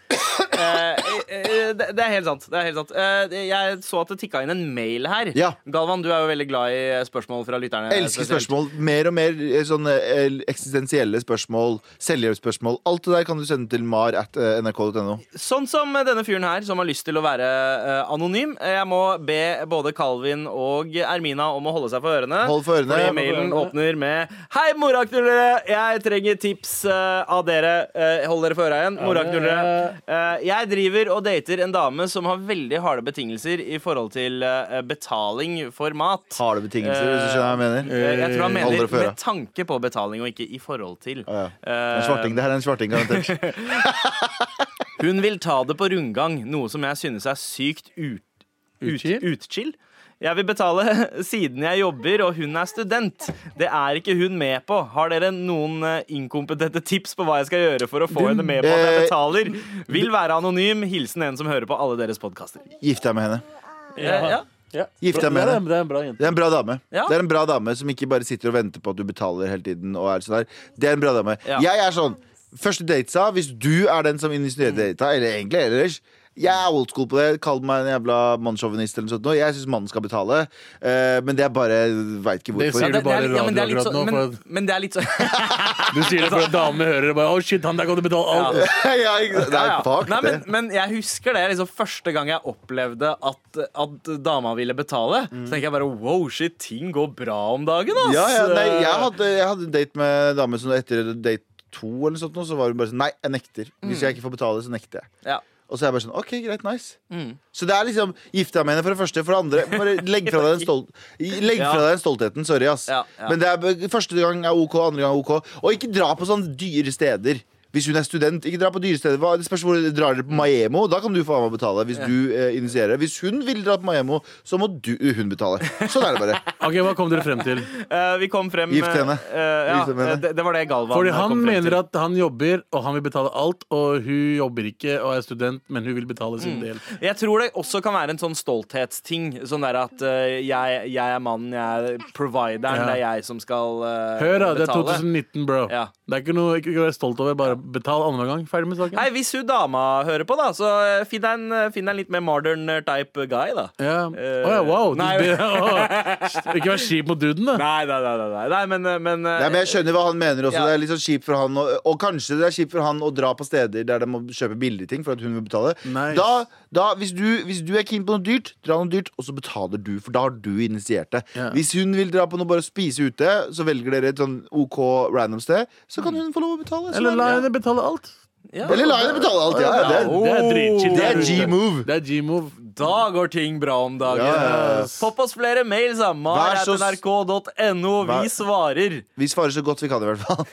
Speaker 3: Eh, eh, det, det er helt sant. Det er helt sant. Eh, jeg så at det tikka inn en mail her.
Speaker 2: Ja.
Speaker 3: Galvan, du er jo veldig glad i spørsmål fra lytterne.
Speaker 2: Elsker
Speaker 3: spesielt.
Speaker 2: spørsmål. Mer og mer eh, sånne eh, eksistensielle spørsmål. Selvhjelpsspørsmål. Alt det der kan du sende til mar at eh, nrk.no.
Speaker 3: Sånn som denne fyren her, som har lyst til å være eh, anonym. Eh, Jeg må be både Calvin og Ermina om å holde seg for ørene.
Speaker 2: Hold for ørene.
Speaker 3: Fordi mailen åpner med Hei, moraknullere! Jeg trenger tips eh, av dere. Eh, hold dere for øra igjen. Moraknullere. Eh, jeg driver og dater en dame som har veldig harde betingelser i forhold til eh, betaling for mat.
Speaker 2: Harde betingelser, hvis du skjønner hva jeg mener.
Speaker 3: Eh, Jeg tror
Speaker 2: Hold
Speaker 3: han
Speaker 2: dere
Speaker 3: mener
Speaker 2: for øra.
Speaker 3: med tanke på betaling, og ikke i forhold til.
Speaker 2: Ja, ja. En
Speaker 3: Eh,
Speaker 2: svarting, det her er en svarting, garantert.
Speaker 3: hun vil ta det på rundgang, noe som jeg synes er sykt ut, ut,
Speaker 5: Utchill?
Speaker 3: utchill. Jeg vil betale siden jeg jobber og hun er student. Det er ikke hun med på. Har dere noen eh, inkompetente tips på hva jeg skal gjøre for å få henne med på at jeg
Speaker 2: eh,
Speaker 3: betaler? Vil være anonym. Hilsen en som hører på alle deres podkaster.
Speaker 2: Gift deg med henne.
Speaker 3: Ja. Ja.
Speaker 5: Ja.
Speaker 2: Gift deg med
Speaker 5: Ja,
Speaker 2: henne.
Speaker 5: Det er en bra jente.
Speaker 2: Det er en bra dame
Speaker 3: Ja.
Speaker 2: Det er en bra dame som ikke bare sitter og venter på at du betaler hele tiden. Og er sånn der. Det er en bra dame
Speaker 3: Ja.
Speaker 2: Jeg er sånn Første datesa, hvis du er den som initierer
Speaker 3: Mm.
Speaker 2: data, eller egentlig ellers jeg er old school på det. Kall meg en jævla mannssjåvinist. eller noe sånt nå. Jeg syns mannen skal betale, eh, men det er bare Veit ikke
Speaker 5: Det
Speaker 2: hvorfor.
Speaker 5: sier du bare i
Speaker 3: ja, men det er
Speaker 5: radio
Speaker 3: litt
Speaker 5: akkurat
Speaker 3: sånn-
Speaker 5: nå,
Speaker 3: men-
Speaker 5: for at-
Speaker 3: Men det er litt sånn
Speaker 5: Du sier det for at damene hører det bare. Å, shit, han der kan du betale alt.
Speaker 2: ja, ikke, sant? nei,
Speaker 3: Ja, ja.
Speaker 2: fuck
Speaker 3: Nei, men,
Speaker 2: det.
Speaker 3: men jeg husker det liksom, første gang jeg opplevde at, at dama ville betale. Så tenker jeg bare wow, shit, ting går bra om dagen, ass.
Speaker 2: Ja, ja, nei, jeg, hadde, jeg hadde en date med en dame som etter date to eller noe sånt, nå, så var hun bare sånn Nei, jeg nekter. Hvis jeg ikke får betale, så nekter jeg.
Speaker 3: Ja.
Speaker 2: Og så er jeg bare sånn, ok, greit, nice
Speaker 3: Mm.
Speaker 2: Så det er liksom, gift deg med henne for det første For det andre, bare legg fra deg den, stol legg fra
Speaker 3: Ja.
Speaker 2: deg den stoltheten, sorry ass
Speaker 3: Ja, ja.
Speaker 2: Men det er, første gang er ok, andre gang er ok Og ikke dra på sånne dyre steder hvis hun er student, ikke dra på dyre steder Hva- Det spørs hvor du drar dere på Miami Da kan du få meg betale hvis du eh, initierer det. Hvis hun vil dra på Miami, så må du, hun betale Sånn er det bare
Speaker 5: Ok, Hva kom dere frem til?
Speaker 3: Eh, vi kom frem
Speaker 2: Gift henne.
Speaker 3: eh, ja,
Speaker 2: Gift henne.
Speaker 3: eh, det, det var det Galvan
Speaker 5: Fordi han
Speaker 3: kom frem til.
Speaker 5: mener at han jobber, og han vil betale alt. Og hun jobber ikke og er student, men hun vil betale
Speaker 2: Mm.
Speaker 5: sin del.
Speaker 3: Jeg tror det også kan være en sånn stolthetsting. Sånn der at eh, jeg, jeg er mannen, jeg er provideren,
Speaker 5: Ja.
Speaker 3: det er jeg som skal eh,
Speaker 5: Hør, da. Det er
Speaker 3: betale.
Speaker 5: 2019, bro.
Speaker 3: Ja.
Speaker 5: Det er ikke noe ikke være stolt over. Bare betal annenhver gang. Ferdig med saken.
Speaker 3: Nei, Hvis hun dama hører på, da, så eh, finn deg en, finn deg en litt mer modern eh, type guy, da.
Speaker 5: Ja.
Speaker 3: Eh,
Speaker 5: Å ja, wow. Du,
Speaker 3: nei.
Speaker 5: be, Å, ikke vær kjip mot duden, da.
Speaker 3: Nei, nei, nei, nei, nei. nei men, eh, men, eh,
Speaker 2: Nei, men Jeg skjønner hva han mener også.
Speaker 3: Ja.
Speaker 2: Det er litt sånn kjipt for han å, Og kanskje det er kjipt for han å dra på steder der de må kjøpe billige ting for at hun vil betale.
Speaker 5: Nice.
Speaker 2: Da, da, hvis, du, hvis du er keen på noe dyrt, dra noe dyrt, og så betaler du, for da har du initiert det.
Speaker 5: Ja.
Speaker 2: Hvis hun vil dra på noe bare å spise ute, så velger dere et sånn OK random sted, så kan hun få lov å betale. Så
Speaker 5: Eller la
Speaker 2: veldig-
Speaker 5: henne betale alt.
Speaker 3: ja.
Speaker 2: Eller la henne betale alt. Ja, ja, det, er-
Speaker 5: Det er dritchill.
Speaker 2: det er
Speaker 5: ute.
Speaker 2: G-move.
Speaker 5: Det er G-move.
Speaker 3: Da går ting bra om dagen.
Speaker 2: Ja, ja, ja.
Speaker 3: Popp oss flere mails, da.
Speaker 2: Vær så s-
Speaker 3: mar.nrk.no.
Speaker 2: Vær-
Speaker 3: Vi svarer.
Speaker 2: Vi svarer så godt vi kan, i hvert fall.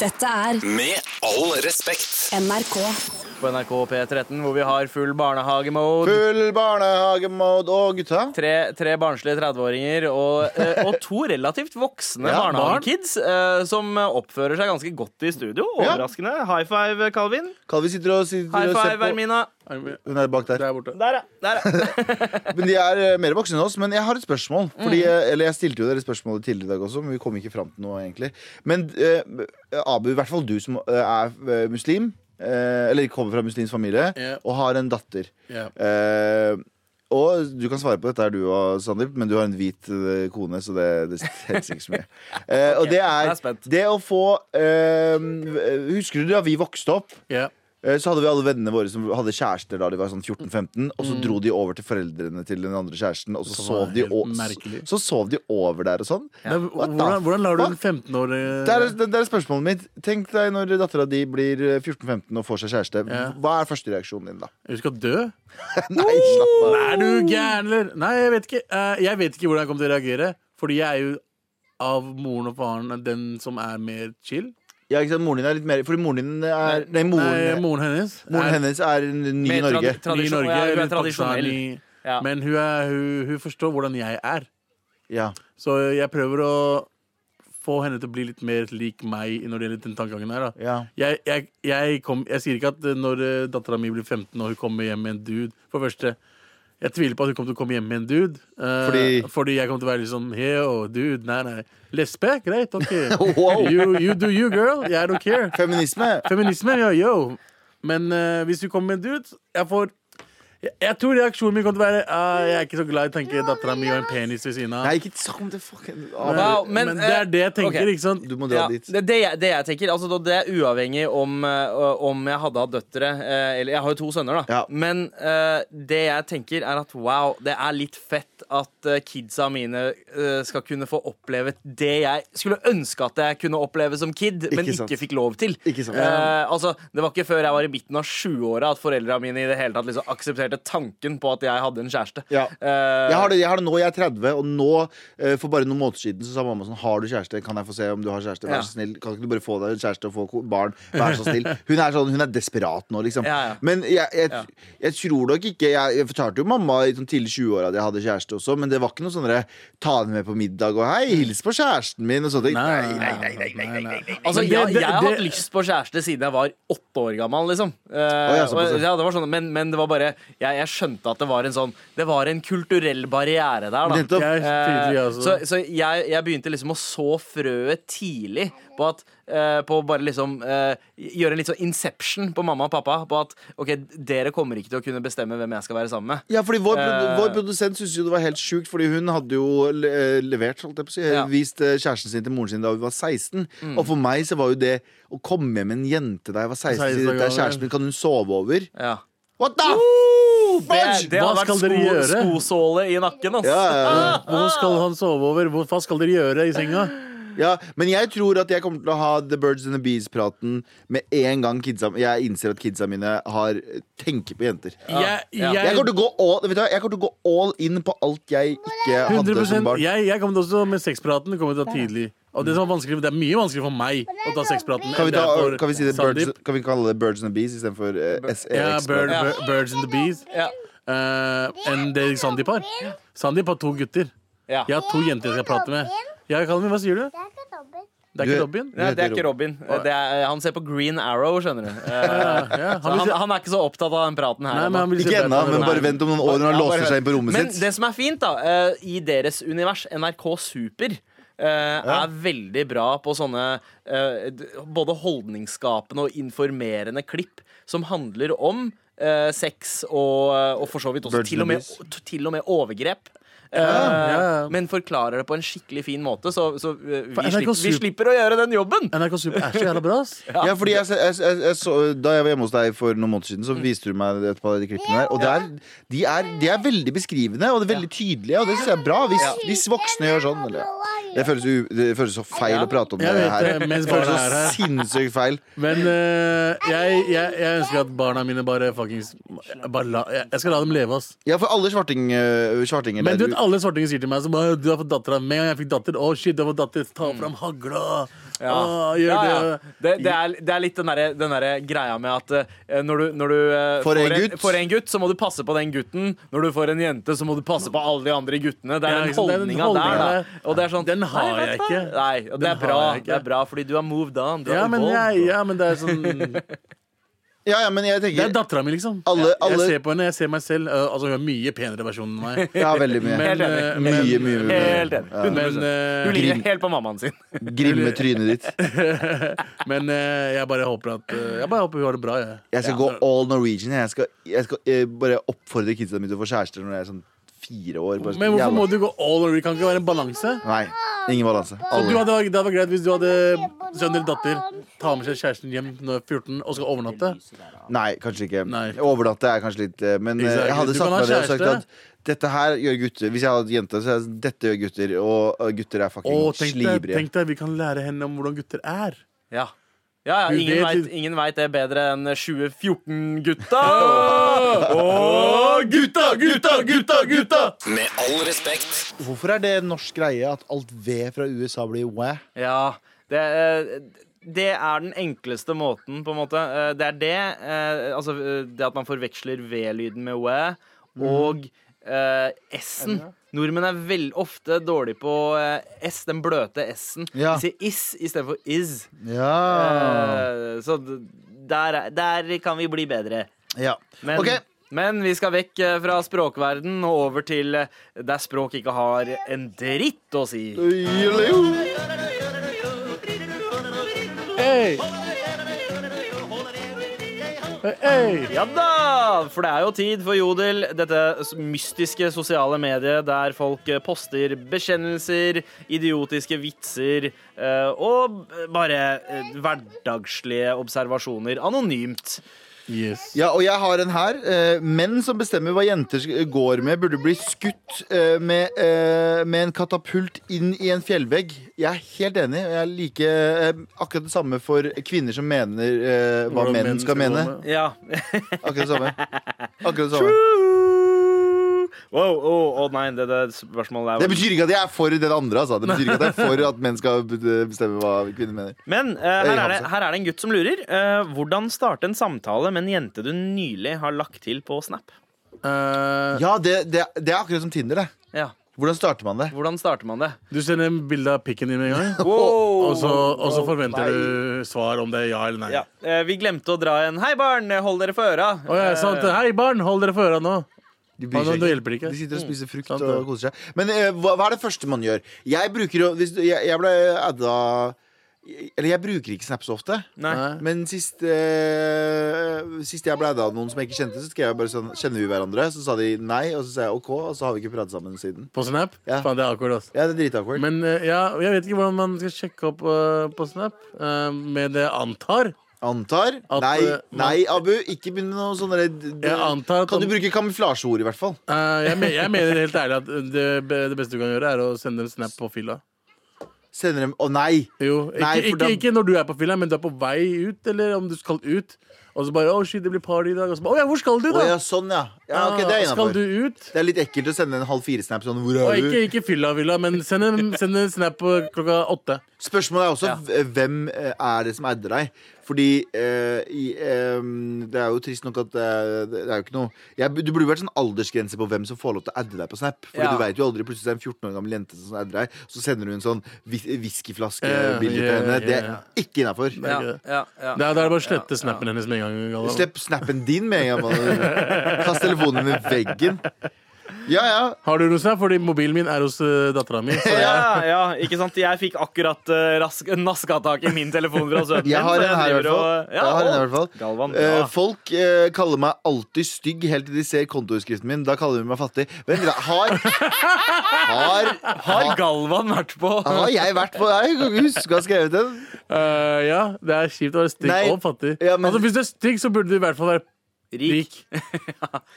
Speaker 4: Dette er
Speaker 1: Med all respekt.
Speaker 4: NRK.
Speaker 3: På NRK P13, hvor vi har full barnehagemode.
Speaker 2: Full barnehagemode og gutta.
Speaker 3: Tre, tre barnslige 30-åringer og, eh, og to relativt voksne
Speaker 2: Ja,
Speaker 3: barnehagekids eh, som oppfører seg ganske godt i studio.
Speaker 2: Ja.
Speaker 3: Overraskende. High five, Calvin.
Speaker 2: Kan vi sitter og, sitter
Speaker 3: High
Speaker 2: og ser
Speaker 3: five,
Speaker 2: på
Speaker 3: Ermina.
Speaker 2: Hun er bak der.
Speaker 5: Der borte.
Speaker 3: Der, ja. Der, ja.
Speaker 2: Men de er eh, mer voksne enn oss. Men jeg har et spørsmål. Fordi,
Speaker 3: Mm.
Speaker 2: eh, Eller jeg stilte jo dere spørsmålet tidligere i dag også, men vi kom ikke fram til noe, egentlig. Men eh, Abu, i hvert fall du som eh, er eh, muslim, eh, eller kommer fra muslimsk familie,
Speaker 5: Ja.
Speaker 2: og har en datter.
Speaker 5: Ja.
Speaker 2: Eh, og du kan svare på dette, er du og Sandeep, men du har en hvit eh, kone, så det, det teller ikke så mye. Eh, og det
Speaker 3: jeg er
Speaker 2: er,
Speaker 3: spent.
Speaker 2: det å få eh, Husker du da vi vokste opp?
Speaker 5: Ja.
Speaker 2: Eh, Så hadde vi alle vennene våre som hadde kjærester da de var sånn 14-15, og så dro de over til foreldrene til den andre kjæresten, og så,
Speaker 5: Som var
Speaker 2: sov, de
Speaker 5: helt
Speaker 2: o-
Speaker 5: merkelig.
Speaker 2: så sov de over der og sånn.
Speaker 5: Nei,
Speaker 2: What the
Speaker 5: hvordan, hvordan lar du en eh,
Speaker 2: fuck?
Speaker 5: 15-årig
Speaker 2: Der er, der er spørsmålet mitt. Tenk deg når dattera di blir eh, 14-15 og får seg kjæreste.
Speaker 5: Ja.
Speaker 2: Hva er førstereaksjonen din da?
Speaker 5: Hun skal dø?
Speaker 2: Nei, slapp av.
Speaker 5: Er du gæren, eller? Nei, jeg vet ikke. Eh, Jeg vet ikke hvordan jeg kommer til å reagere. Fordi jeg er jo av moren og faren den som er mer chill.
Speaker 2: Ja, ikke sant? Moren din er litt mer Fordi moren din er Nei,
Speaker 5: Nei,
Speaker 2: moren,
Speaker 5: moren hennes.
Speaker 2: moren
Speaker 5: er
Speaker 2: hennes er ny i
Speaker 3: Mer tradi-
Speaker 2: Norge.
Speaker 5: ny i
Speaker 3: tradisjon-
Speaker 5: Norge,
Speaker 3: ja, hun er
Speaker 5: litt
Speaker 3: tradisjonell.
Speaker 5: pakistaner.
Speaker 3: Ja.
Speaker 5: Men hun, er, hun, hun forstår hvordan jeg er.
Speaker 2: Ja.
Speaker 5: Så jeg prøver å få henne til å bli litt mer lik meg når det gjelder den tankegangen her. da
Speaker 2: Ja.
Speaker 5: jeg, jeg, jeg, kom, jeg sier ikke at eh, når dattera mi blir 15 og hun kommer hjem med en dude For det første, jeg tviler på at hun kommer til å komme hjem med en dude. eh,
Speaker 2: Fordi-
Speaker 5: fordi jeg kommer til å være litt sånn Yo, dude, nei, nei. Lesbe? Greit, OK.
Speaker 2: Wow.
Speaker 5: You, you do you, girl. I don't care.
Speaker 2: Feminisme.
Speaker 5: Feminisme, ja, yo. Men eh, hvis du kommer med en dude Jeg får jeg, jeg tror reaksjonen min kommer til å være «Ah, Jeg er ikke så glad i å tenke dattera mi og en penis ved siden av.
Speaker 2: Nei, ikke snakk om det fucking
Speaker 3: Wow,
Speaker 5: men,
Speaker 3: men,
Speaker 5: det er det jeg
Speaker 3: eh,
Speaker 5: tenker,
Speaker 3: ok.
Speaker 5: ikke sant?
Speaker 2: Du må dra
Speaker 3: Ja,
Speaker 2: dit.
Speaker 3: det, det, jeg, det jeg tenker, altså da- det er uavhengig om, eh, om jeg hadde hatt døtre eh, Eller jeg har jo to sønner, da.
Speaker 2: Ja.
Speaker 3: Men eh, det jeg tenker, er at wow, det er litt fett at eh, kidsa mine eh, skal kunne få oppleve det jeg skulle ønske at jeg kunne oppleve som kid, men
Speaker 2: Ikke
Speaker 3: ikke,
Speaker 2: sant.
Speaker 3: fikk lov til.
Speaker 2: Ikke sant.
Speaker 3: Eh, altså, det var ikke før jeg var i midten av sjuåra at foreldra mine i det hele tatt liksom aksepterte tanken på at jeg hadde en kjæreste.
Speaker 2: Ja.
Speaker 3: Eh,
Speaker 2: Jeg har, det, jeg har det nå, jeg er 30, og nå, eh, for bare noen måneder siden, så sa mamma sånn Har du kjæreste? Kan jeg få se om du har kjæreste?
Speaker 3: Ja.
Speaker 2: Vær så snill. Kan ikke du bare få deg en kjæreste og få ko- barn? Vær så snill. Hun er sånn, hun er desperat nå, liksom.
Speaker 3: Ja, ja.
Speaker 2: Men jeg, jeg,
Speaker 3: Ja.
Speaker 2: jeg tror nok ikke Jeg, jeg fortalte jo mamma i sånn tidlig 20-åra at jeg hadde kjæreste også, men det var ikke noe sånn derre, ta henne med på middag og hei, hils på kjæresten min og sånne ting. Nei, nei, nei.
Speaker 3: Altså,
Speaker 5: Men det-
Speaker 3: jeg,
Speaker 5: det-
Speaker 3: jeg har
Speaker 5: det-
Speaker 3: hatt lyst på kjæreste siden jeg var åtte år gammel, liksom. Eh,
Speaker 2: ja, såpass,
Speaker 3: og,
Speaker 2: ja.
Speaker 3: ja, det var sånn, men, men det var bare jeg, jeg skjønte at det var en sånn Det var en kulturell barriere der, da.
Speaker 2: Nettopp.
Speaker 5: Jeg er tydelig,
Speaker 3: Eh,
Speaker 5: altså.
Speaker 3: Så, så jeg, jeg begynte liksom å så frøet tidlig på at eh, På å bare liksom eh, gjøre en litt sånn inception på mamma og pappa på at OK, dere kommer ikke til å kunne bestemme hvem jeg skal være sammen med.
Speaker 2: Ja, fordi vår, produ-
Speaker 3: Eh.
Speaker 2: vår produsent syntes jo det var helt sjukt, fordi hun hadde jo le- eh, levert, holdt jeg på å si, eh,
Speaker 3: Ja. Mm.
Speaker 2: vist eh, kjæresten sin til moren sin da hun var 16. Og for meg så var jo det å komme hjem med en jente da jeg var 16,
Speaker 5: 16
Speaker 2: si, dette er
Speaker 5: gammel.
Speaker 2: kjæresten min, kan hun sove over?
Speaker 3: Ja.
Speaker 2: What the?
Speaker 3: Det,
Speaker 2: Fudge!
Speaker 3: det hadde
Speaker 5: Hva
Speaker 3: vært
Speaker 5: skal dere
Speaker 3: sko,
Speaker 5: gjøre?
Speaker 3: skosåle i nakken, ass.
Speaker 2: Ja, ja, ja.
Speaker 5: Hvor skal han sove over? Hvor, hva skal dere gjøre i senga?
Speaker 2: ja, men jeg tror at jeg kommer til å ha The Birds and the Bees-praten med en gang kidsa, jeg innser at kidsa mine har eh, tenker på jenter.
Speaker 5: Jeg,
Speaker 3: Ja.
Speaker 5: jeg,
Speaker 2: Jeg kommer til å gå all, vet du, hva, jeg kommer til å gå all in på alt jeg ikke hadde
Speaker 5: 100
Speaker 2: som barn.
Speaker 5: jeg, jeg kom til også med sexpraten kommer til å ta tidlig. Og det som er vanskelig, det er mye vanskeligere for meg å ta sexpraten.
Speaker 2: Kan vi,
Speaker 5: enn det
Speaker 2: ta,
Speaker 5: er for
Speaker 2: kan vi, si det
Speaker 5: Sandeep.
Speaker 2: birds, kan vi kalle det Birds and the Bees istedenfor uh,
Speaker 5: Ja,
Speaker 2: SEX?
Speaker 5: bird,
Speaker 3: Ja.
Speaker 5: bir- birds and the bees.
Speaker 3: Ja.
Speaker 5: eh, enn det Sandeep har. Sandeep har to gutter.
Speaker 3: Ja.
Speaker 5: Jeg har to jenter jeg skal prate med. Ja, Kalmi, hva sier du?
Speaker 6: Det er ikke dobbelt.
Speaker 5: Det er
Speaker 2: Du-
Speaker 5: ikke Robin?
Speaker 3: Nei, det er
Speaker 2: heter
Speaker 3: ikke Robin. Det er, han ser på Green Arrow, skjønner du. Eh,
Speaker 5: Ja,
Speaker 3: så
Speaker 5: han vil
Speaker 3: han,
Speaker 5: si-
Speaker 3: han er ikke så opptatt av den praten her.
Speaker 5: Nei, men
Speaker 3: ennå.
Speaker 5: han vil si
Speaker 2: Ikke ennå,
Speaker 5: Batman
Speaker 2: men
Speaker 5: Robin.
Speaker 2: bare vent om noen år når han
Speaker 3: Ja, bare
Speaker 2: låser seg
Speaker 3: hør.
Speaker 2: inn på rommet
Speaker 3: Men
Speaker 2: sitt.
Speaker 3: det som er fint, da, eh, i deres univers, NRK Super eh, Er veldig bra på sånne eh, d- både holdningsskapende og informerende klipp som handler om eh, sex og, eh, og for så vidt også
Speaker 2: Virgin
Speaker 3: til og, med,
Speaker 2: abuse.
Speaker 3: t- til og med overgrep. Eh,
Speaker 5: ja, ja.
Speaker 3: Men forklarer det på en skikkelig fin måte, så, så eh, vi,
Speaker 5: For NRK
Speaker 3: slipper, vi
Speaker 5: Super-
Speaker 3: slipper å gjøre den jobben.
Speaker 5: NRK Super er så jævla bra, ass.
Speaker 2: Ja, fordi jeg, jeg, jeg, jeg så, Da jeg var hjemme hos deg for noen måneder siden, Så viste du meg et par av de klippene der. Og det er, de, er, de er veldig beskrivende og det er veldig tydelige, og det syns jeg er bra. Hvis, hvis voksne gjør sånn. Eller, det, føles u, det føles så feil å prate om det
Speaker 5: Jeg vet
Speaker 2: her.
Speaker 5: det,
Speaker 2: Det
Speaker 5: mens
Speaker 2: føles
Speaker 5: barna
Speaker 2: så
Speaker 5: er her.
Speaker 2: sinnssykt feil.
Speaker 5: Men eh, jeg, jeg, jeg ønsker at barna mine bare fuckings bare la, jeg, jeg skal la dem leve, ass.
Speaker 2: Ja, for alle svarting, øh, svartinger
Speaker 5: Men du
Speaker 2: der
Speaker 5: vet, alle svartinger sier til meg som «Åh, Du har fått dattera. Med en gang jeg fikk datter, å shit, du har fått datter. Ta fram hagla. Åh, gjør
Speaker 3: Mm. Ja, ja.
Speaker 5: det.
Speaker 3: Det, det, er, det er litt den derre den derre greia med at eh, når du, når du eh,
Speaker 2: Får en gutt.
Speaker 3: får en gutt, så må du passe på den gutten. Når du får en jente, så må du passe på alle de andre guttene. Det
Speaker 5: Ja,
Speaker 3: er
Speaker 5: ikke
Speaker 3: den
Speaker 5: sant? Det er den
Speaker 3: holdninga der.
Speaker 5: holdningen
Speaker 3: Da. Og det er sånn,
Speaker 5: Den har
Speaker 3: nei, vet du
Speaker 5: jeg
Speaker 3: hva?
Speaker 5: ikke.
Speaker 3: Nei, og det
Speaker 5: Den
Speaker 3: er, bra,
Speaker 5: har jeg ikke.
Speaker 3: det er bra, fordi du har moved on. Du
Speaker 5: Ja,
Speaker 3: har
Speaker 5: men, jeg,
Speaker 3: evolved.
Speaker 5: ja, men det er sånn
Speaker 2: Ja, ja, men jeg
Speaker 5: Det er
Speaker 2: tenker
Speaker 5: dattera mi, liksom.
Speaker 2: Alle- alle-
Speaker 5: Jeg ser på henne, jeg ser meg selv. Eh, altså, hun er mye penere versjon enn meg.
Speaker 2: Ja, veldig mye.
Speaker 5: Men, eh,
Speaker 3: enig.
Speaker 5: men,
Speaker 2: Mye, mye, mye.
Speaker 3: Helt enig.
Speaker 5: men,
Speaker 3: 100%.
Speaker 5: eh,
Speaker 3: Du ligner helt på mammaen sin.
Speaker 2: Grimme trynet ditt.
Speaker 5: men eh, jeg bare håper at eh, Jeg bare håper hun har det bra, jeg.
Speaker 2: Jeg skal gå all Norwegian. Jeg Jeg skal, jeg skal eh, bare oppfordre kidsa mine til å få kjærester når jeg er sånn fire år. Bare, sånn
Speaker 5: Men hvorfor
Speaker 2: jævla-
Speaker 5: må du gå all over? Det Kan ikke være en balanse?
Speaker 2: Nei. Ingen balanse.
Speaker 5: Så du
Speaker 2: Alle.
Speaker 5: hadde, det hadde vært greit hvis du hadde sønn eller datter, tar med seg kjæresten hjem når hun er 14 og skal overnatte.
Speaker 2: Nei, kanskje ikke.
Speaker 5: Nei.
Speaker 2: Overnatte er kanskje litt eh, Men eh,
Speaker 5: Exactly.
Speaker 2: jeg hadde
Speaker 5: Du
Speaker 2: satt
Speaker 5: kan ha
Speaker 2: meg ned og sagt
Speaker 5: kjæreste.
Speaker 2: at dette her gjør gutter. Hvis jeg hadde jente, så er det dette gjør gutter. Og eh, gutter er fucking
Speaker 5: Og tenk deg,
Speaker 2: slibrige.
Speaker 5: tenk deg, vi kan lære henne om hvordan gutter er.
Speaker 3: Ja. Ja, ja,
Speaker 5: Du
Speaker 3: ingen,
Speaker 5: vet-
Speaker 3: vet, ingen vet det bedre enn 2014-gutta. Åh, gutta, gutta, gutta, gutta!
Speaker 1: Med all respekt.
Speaker 2: Hvorfor er det en norsk greie at alt ved fra USA blir wæ?
Speaker 3: Ja, det, eh, det er den enkleste måten, på en måte. Eh,
Speaker 2: Mhm.
Speaker 3: Det er det, eh, altså eh, det at man forveksler V-lyden med wæ, og eh, S-en. Nordmenn er vel ofte dårlig på eh, S, den bløte S-en.
Speaker 2: Ja.
Speaker 3: De sier is istedenfor is.
Speaker 2: Ja.
Speaker 3: Eh, så d- der, er- der kan vi bli bedre.
Speaker 2: ja.
Speaker 3: Men,
Speaker 2: Ok.
Speaker 3: men vi skal vekk eh, fra språkverden og over til eh, der språk ikke har en dritt å si.
Speaker 5: Hey. Hey.
Speaker 3: Ja da! For det er jo tid for Jodel, dette s- mystiske sosiale mediet der folk eh, poster bekjennelser, idiotiske vitser eh, og b- bare eh, hverdagslige observasjoner anonymt.
Speaker 5: Yes.
Speaker 2: Ja, og jeg har en her. Eh, menn som bestemmer hva jenter sk- går med, burde bli skutt eh, med, eh, med en katapult inn i en fjellvegg. Jeg er helt enig. og Jeg er like eh, akkurat det samme for kvinner som mener eh, hva
Speaker 5: Hvordan
Speaker 2: menn
Speaker 5: menn
Speaker 2: skal
Speaker 5: skal gå
Speaker 2: mene.
Speaker 5: med.
Speaker 3: Ja.
Speaker 2: Akkurat det samme. Akkurat det samme.
Speaker 3: Wow, å å nei, det, det spørsmålet
Speaker 2: Det
Speaker 3: er jo
Speaker 2: betyr ikke at jeg er for det andre, altså. Det betyr ikke at jeg er for at menn skal eh, bestemme hva kvinner mener.
Speaker 3: Men eh, her, er det, her er det en gutt som lurer. Eh, hvordan starte en samtale med en jente du nylig har lagt til på Snap?
Speaker 5: Eh,
Speaker 2: Ja, det, det, det er akkurat som Tinder, det.
Speaker 3: Ja,
Speaker 2: Hvordan starter man det?
Speaker 3: Hvordan starter man det?
Speaker 5: du sender en bilde av pikken din med en gang, og så, og så forventer du svar om det er ja eller nei.
Speaker 3: Ja, eh, Vi glemte å dra en 'Hei, barn, hold dere for øra'.
Speaker 5: Og jeg sa til Hei, barn, hold dere for øra nå.
Speaker 2: Eh, De
Speaker 5: Ja, men det hjelper ikke.
Speaker 2: De sitter og spiser frukt
Speaker 5: Sant det.
Speaker 2: Mm. og koser seg. Men eh, hva, hva er det første man gjør? Jeg bruker jo hvis, du- jeg, jeg ble adda Eller jeg bruker ikke Snap så ofte.
Speaker 3: Nei.
Speaker 5: Nei.
Speaker 2: Men sist, eh, sist jeg ble adda av noen som jeg ikke kjente, så skrev jeg bare sånn Kjenner vi hverandre? Så sa de nei, og så sa jeg OK, og så har vi ikke pratet sammen siden.
Speaker 5: På Snap?
Speaker 2: Ja.
Speaker 5: Faen, det er akkurat, altså.
Speaker 2: Ja, det er dritakkord.
Speaker 5: Men eh, ja, jeg vet ikke hvordan man skal sjekke opp eh, på Snap, eh, med det jeg antar.
Speaker 2: Antar.
Speaker 5: At,
Speaker 2: nei,
Speaker 5: eh, man-
Speaker 2: nei, Abu. Ikke begynn med noe sånne d- d-
Speaker 5: Jeg antar at
Speaker 2: Kan du
Speaker 5: om-
Speaker 2: bruke kamuflasjeord, i hvert fall?
Speaker 5: Eh, jeg, me jeg mener helt ærlig at det, be- det beste du kan gjøre, er å sende en snap på fylla.
Speaker 2: Sender dem Å, nei!
Speaker 5: Jo, ikke,
Speaker 2: Nei, for
Speaker 5: ikke,
Speaker 2: da-
Speaker 5: ikke når du er på fylla, men du er på vei ut, eller om du skal ut. Og så bare 'Å, shit, det blir party i dag.' Og så bare 'Å ja, hvor skal du,
Speaker 2: Å
Speaker 5: da?'
Speaker 2: ja, sånn, ja. ja ok, det er
Speaker 5: Ah, skal
Speaker 2: innafor.
Speaker 5: du ut?
Speaker 2: Det er litt ekkelt å sende en halv fire-snap sånn Hvor
Speaker 5: Og
Speaker 2: er du?
Speaker 5: ikke, ikke fylla-fylla, men send en, send en snap på klokka åtte.
Speaker 2: Spørsmålet er også eh, hvem eh, er det som adder deg? Fordi eh, i, eh, det er jo trist nok at eh, det er jo ikke noe jeg, Du burde vært sånn aldersgrense på hvem som får lov til å adde deg på Snap. Fordi
Speaker 3: Ja.
Speaker 2: du vet jo aldri Plutselig er det en 14 år gammel jente som adder deg, så sender du en sånn whis-
Speaker 5: Ja,
Speaker 2: whiskyflaske-bilde til
Speaker 5: ja,
Speaker 2: henne. Det
Speaker 5: ja.
Speaker 2: er ikke innafor.
Speaker 5: er
Speaker 3: Eh, Ja,
Speaker 5: ikke det.
Speaker 3: ja, ja.
Speaker 5: Da da er det bare å slette snappen hennes med en gang. Galvan.
Speaker 2: Slipp snappen din med en gang. mann. Kast telefonen din i veggen. Ja, ja.
Speaker 5: Har du noe snap? Fordi mobilen min er hos uh, dattera mi. så jeg-
Speaker 3: Ja, ja, ikke sant? Jeg fikk akkurat eh, rask, naska tak i min telefon fra sønnen min.
Speaker 2: Jeg har
Speaker 3: så
Speaker 2: en her i hvert
Speaker 3: driver
Speaker 2: fall.
Speaker 3: og- Ja,
Speaker 2: Jeg har en her i
Speaker 3: å,
Speaker 2: hvert fall.
Speaker 3: Galvan,
Speaker 2: Eh,
Speaker 3: ja.
Speaker 2: folk eh, kaller meg alltid stygg helt til de ser kontoutskriften min. Da kaller de meg fattig. Vent litt, da. har, har,
Speaker 3: Har
Speaker 2: har,
Speaker 3: Galvan vært på
Speaker 2: har jeg vært på Jeg kan ikke huske å ha skrevet den.
Speaker 5: Eh, ja, det er kjipt å være stygg
Speaker 2: Nei.
Speaker 5: og fattig.
Speaker 2: Ja, men-
Speaker 5: Altså, Hvis du er stygg, så burde du i hvert fall være
Speaker 3: Rik?
Speaker 5: rik.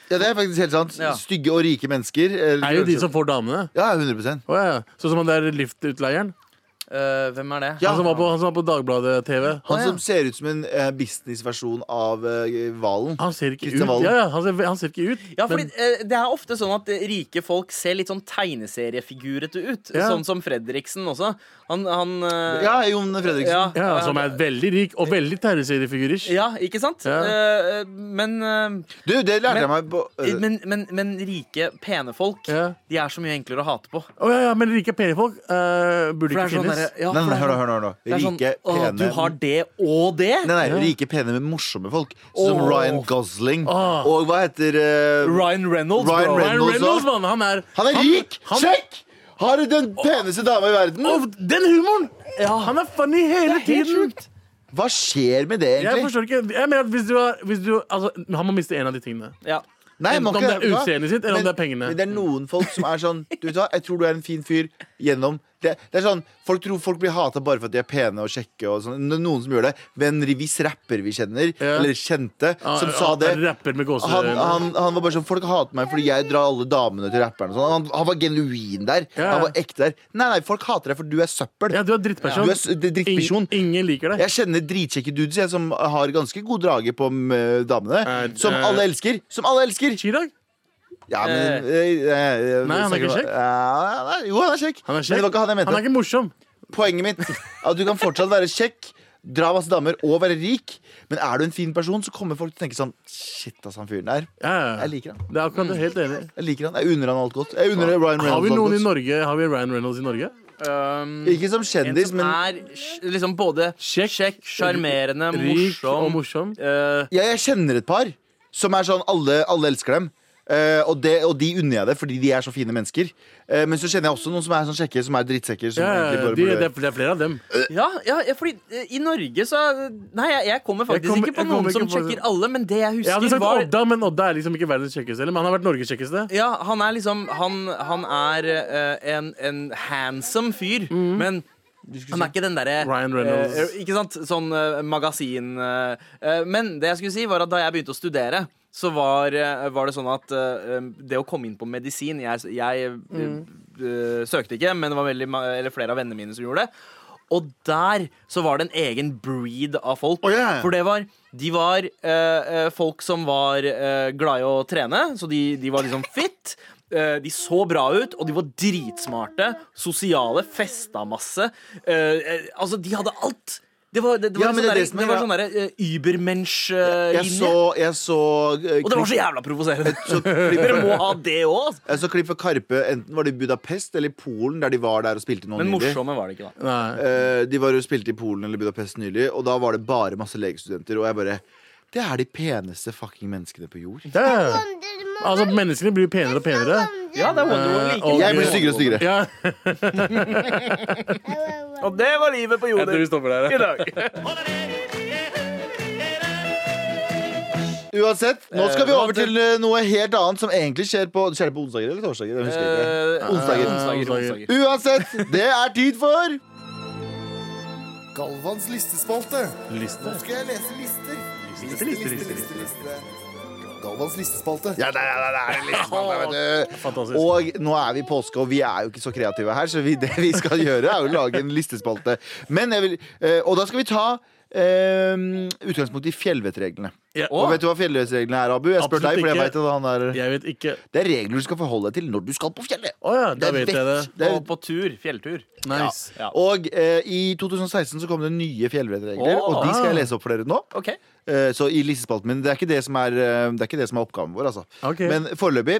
Speaker 2: Ja, det er faktisk helt sant.
Speaker 3: Ja.
Speaker 2: Stygge og rike mennesker. eh,
Speaker 5: Er jo de som får damene.
Speaker 2: Ja, 100
Speaker 5: Å, ja. Sånn som han der liftutleieren.
Speaker 3: Eh, hvem er det?
Speaker 2: Ja.
Speaker 5: Han som var på, han som var på Dagbladet-TV.
Speaker 2: Han som ser ut som en eh, businessversjon av eh, Valen.
Speaker 5: Han ser ikke ut.
Speaker 2: Kristian Valen.
Speaker 5: Ja, ja, han, ser, han ser ikke ut.
Speaker 3: Ja, fordi
Speaker 5: men,
Speaker 3: eh, Det er ofte sånn at eh, rike folk ser litt sånn tegneseriefigurete ut.
Speaker 5: Ja.
Speaker 3: Sånn som Fredriksen også. Han, han eh,
Speaker 2: Ja, Jon Fredriksen.
Speaker 3: ja, eh,
Speaker 5: ja, som er veldig rik og veldig terrorseriefigurish.
Speaker 3: ja, ikke sant?
Speaker 5: Ja.
Speaker 3: Eh, eh, men, eh,
Speaker 2: Du, det lærte
Speaker 3: Men-
Speaker 2: jeg meg på eh,
Speaker 3: men, men, men rike, pene folk,
Speaker 5: Ja.
Speaker 3: de er så mye enklere å hate på.
Speaker 5: Å, ja, ja, men rike pene folk eh,
Speaker 3: For
Speaker 5: burde
Speaker 3: det
Speaker 5: ikke
Speaker 3: er sånn
Speaker 5: finnes.
Speaker 3: derre- ja,
Speaker 2: Nei, nei,
Speaker 3: for det er
Speaker 2: hør nå,
Speaker 3: sånn-
Speaker 2: hør nå, hør nå.
Speaker 3: Det er sånn,
Speaker 2: Rike,
Speaker 3: «Å,
Speaker 2: pene
Speaker 3: Du har det og det?
Speaker 2: Nei, nei, Rike, pene, men morsomme folk. Sånn som
Speaker 3: Åh.
Speaker 2: Ryan Gosling.
Speaker 5: Åh.
Speaker 2: Og hva heter eh,
Speaker 3: Ryan Reynolds,
Speaker 2: Ryan
Speaker 3: bro.
Speaker 2: Reynolds.
Speaker 5: Ryan
Speaker 2: også.
Speaker 5: Reynolds, mann! Han er
Speaker 2: Han er rik!
Speaker 5: han-
Speaker 2: Sjekk! Har den peneste dama i verden.
Speaker 5: Å, den humoren! Han er funny hele
Speaker 3: helt
Speaker 5: tiden.
Speaker 3: sjukt.
Speaker 2: Hva skjer med det,
Speaker 5: Jeg
Speaker 2: egentlig?
Speaker 5: forstår ikke. Jeg mener at hvis du har, hvis du, altså, Han må miste en av de tingene.
Speaker 3: Ja.
Speaker 2: Nei,
Speaker 5: Enten
Speaker 2: man
Speaker 5: om
Speaker 2: kan-
Speaker 5: det er utseendet sitt, eller om
Speaker 2: Men-
Speaker 5: det er pengene.
Speaker 2: Men det er noen folk som er sånn Du vet hva, jeg tror du er en fin fyr gjennom det, det er sånn, Folk tror folk blir hata bare for at de er pene og kjekke. Og sånn. Det er noen som gjør det. Men en viss rapper vi kjenner,
Speaker 5: Ja. Ah,
Speaker 2: eller kjente, som
Speaker 5: Han-
Speaker 2: sa
Speaker 5: han
Speaker 2: det.
Speaker 5: er Rapper med
Speaker 2: han,
Speaker 5: gåseøyne.
Speaker 2: han, han var bare sånn Folk hater meg fordi jeg drar alle damene til rapperen. og sånn. Han, han var genuin der.
Speaker 5: Ja.
Speaker 2: Han var ekte der. Nei, nei, folk hater deg, for du er søppel.
Speaker 5: Ja, du er drittperson.
Speaker 2: Du er s- det er drittperson.
Speaker 5: Ingen, ingen liker deg.
Speaker 2: Jeg kjenner dritkjekke dudes jeg, som har ganske god drage på mm, damene.
Speaker 5: Eh,
Speaker 2: som
Speaker 5: eh.
Speaker 2: alle elsker! Som alle elsker!
Speaker 5: Chirag?
Speaker 2: Ja, men eh, eh,
Speaker 5: Nei, han er ikke
Speaker 2: snakker-
Speaker 5: kjekk.
Speaker 2: Ja, nei, jo, han er kjekk.
Speaker 5: Han er
Speaker 2: Men det
Speaker 5: kjekk.
Speaker 2: var ikke han jeg mente.
Speaker 5: Han er ikke morsom.
Speaker 2: Poenget mitt at du kan fortsatt være kjekk. dra masse damer og være rik. Men er du en fin person, så kommer folk til å tenke sånn Shit, ass, han fyren der.
Speaker 5: Ja, ja.
Speaker 2: Jeg liker han.
Speaker 5: Det er akkurat det, helt enig.
Speaker 2: Jeg liker han, jeg unner han alt godt. Jeg unner Mm. Ryan Reynolds
Speaker 5: Har vi noen i
Speaker 2: alt godt.
Speaker 5: Norge Har vi Ryan Reynolds i Norge?
Speaker 3: Um,
Speaker 2: Ikke som
Speaker 3: en
Speaker 2: kjendis,
Speaker 3: som
Speaker 2: men
Speaker 3: er sj- liksom både
Speaker 5: Kjekk,
Speaker 3: kjekk, sjarmerende,
Speaker 5: Rik og
Speaker 3: morsom.
Speaker 5: morsom.
Speaker 3: eh,
Speaker 2: ja, jeg kjenner et par som er sånn alle, alle elsker dem. Eh, og, det, og de unner jeg det, fordi de er så fine mennesker. Eh, men så kjenner jeg også noen som er sånn kjekke, som er drittsekker. Som
Speaker 5: Ja, ja,
Speaker 2: egentlig
Speaker 5: ja,
Speaker 2: bare
Speaker 5: de,
Speaker 2: burde-
Speaker 5: det, er, det er flere av dem.
Speaker 3: ja, ja, ja, fordi eh, i Norge så øh, Nei, jeg, jeg kommer faktisk
Speaker 5: Jeg kommer-
Speaker 3: ikke på
Speaker 5: jeg kommer
Speaker 3: noen som
Speaker 5: ikke på det.
Speaker 3: sjekker alle, men det jeg
Speaker 5: Jeg hadde
Speaker 3: husker,
Speaker 5: sagt
Speaker 3: var
Speaker 5: Odda, men Odda er liksom ikke verdens kjekkeste heller. Men han har vært Norges kjekkeste.
Speaker 3: ja, han er liksom Han, han er eh, en, en handsome fyr,
Speaker 2: Mm.
Speaker 3: men han er ikke den derre
Speaker 5: Ryan Reynolds.
Speaker 3: eh, Ikke sant? Sånn eh, magasin eh, eh, Men det jeg skulle si, var at da jeg begynte å studere, så var, eh, var det sånn at eh, det å komme inn på medisin Jeg, jeg
Speaker 2: Mm.
Speaker 3: eh, søkte ikke, men det var veldig, ma- eller flere av vennene mine som gjorde det. Og der så var det en egen breed av folk.
Speaker 2: Å, ja, ja.
Speaker 3: For det var, de var eh, eh, folk som var eh, glad i å trene, så de, de var liksom fit. Eh, de så bra ut, og de var dritsmarte. Sosiale, festa masse. Eh, eh, altså, de hadde alt! Det var, det, det
Speaker 2: Ja,
Speaker 3: var,
Speaker 2: men det er det som er-
Speaker 3: sånn, der, det var sånn derre eh, Übermensch-linje.
Speaker 5: eh,
Speaker 2: Jeg så, jeg så eh,
Speaker 3: og det var så
Speaker 2: klipp-
Speaker 3: jævla provoserende!
Speaker 2: så klipp-
Speaker 3: Dere må ha det altså. òg!
Speaker 2: Jeg så klipp fra Karpe, enten var det i Budapest eller i Polen, der de var der og spilte noen
Speaker 3: Men
Speaker 2: nylig.
Speaker 3: morsomme var det ikke, da.
Speaker 5: Nei.
Speaker 2: Eh, de var og spilte i Polen eller Budapest nylig, og da var det bare masse legestudenter. Og jeg bare Det er de peneste fucking menneskene på jord.
Speaker 5: Ja, ja.
Speaker 6: Wonderman.
Speaker 5: Altså, menneskene blir jo penere og penere.
Speaker 3: Ja, det er Wonderwall
Speaker 5: Eh,
Speaker 3: like.
Speaker 5: og-
Speaker 2: Jeg blir styggere og styggere.
Speaker 5: Ja.
Speaker 3: Og det var livet på jorda
Speaker 5: stopper der.
Speaker 3: i dag.
Speaker 2: Uansett, nå skal vi
Speaker 3: Eh,
Speaker 2: over til eh, noe helt annet som egentlig skjer på Skjer det på onsdager eller torsdager? Jeg husker
Speaker 3: Eh,
Speaker 2: ikke. Onsdager.
Speaker 3: onsdager, onsdager.
Speaker 5: eh,
Speaker 2: Uansett, det er tid for
Speaker 7: Galvans listespalte.
Speaker 5: Liste.
Speaker 7: Nå skal jeg lese lister. Liste, liste, liste, liste, liste. Galvans listespalte.
Speaker 2: Ja, det er, det er liksom, det er, vet du.
Speaker 5: Fantastisk.
Speaker 2: Og nå er vi i påske, og vi er jo ikke så kreative her, så vi, det vi skal gjøre, er jo å lage en listespalte. Men jeg vil, eh, og da skal vi ta eh, utgangspunkt i fjellvettreglene.
Speaker 5: Ja.
Speaker 2: Og vet du hva fjellvettreglene er, Abu? Jeg spør
Speaker 5: Absolutt
Speaker 2: deg, for jeg
Speaker 5: ikke.
Speaker 2: vet at han er
Speaker 5: Jeg vet ikke
Speaker 2: Det er regler du skal forholde deg til når du skal på fjellet.
Speaker 5: Å ja, da
Speaker 2: Det er
Speaker 5: vet jeg det.
Speaker 2: vett. Det
Speaker 3: Og
Speaker 2: er,
Speaker 3: på tur. Fjelltur.
Speaker 5: Nice.
Speaker 3: Ja.
Speaker 2: og eh, i 2016 så kom det nye fjellvettregler,
Speaker 3: Å.
Speaker 2: og de skal jeg lese opp for dere nå.
Speaker 3: Ok.
Speaker 2: Eh, Så i listespalten min Det er ikke det som er, eh, det er, ikke det som er oppgaven vår, altså.
Speaker 5: Ok.
Speaker 2: Men foreløpig,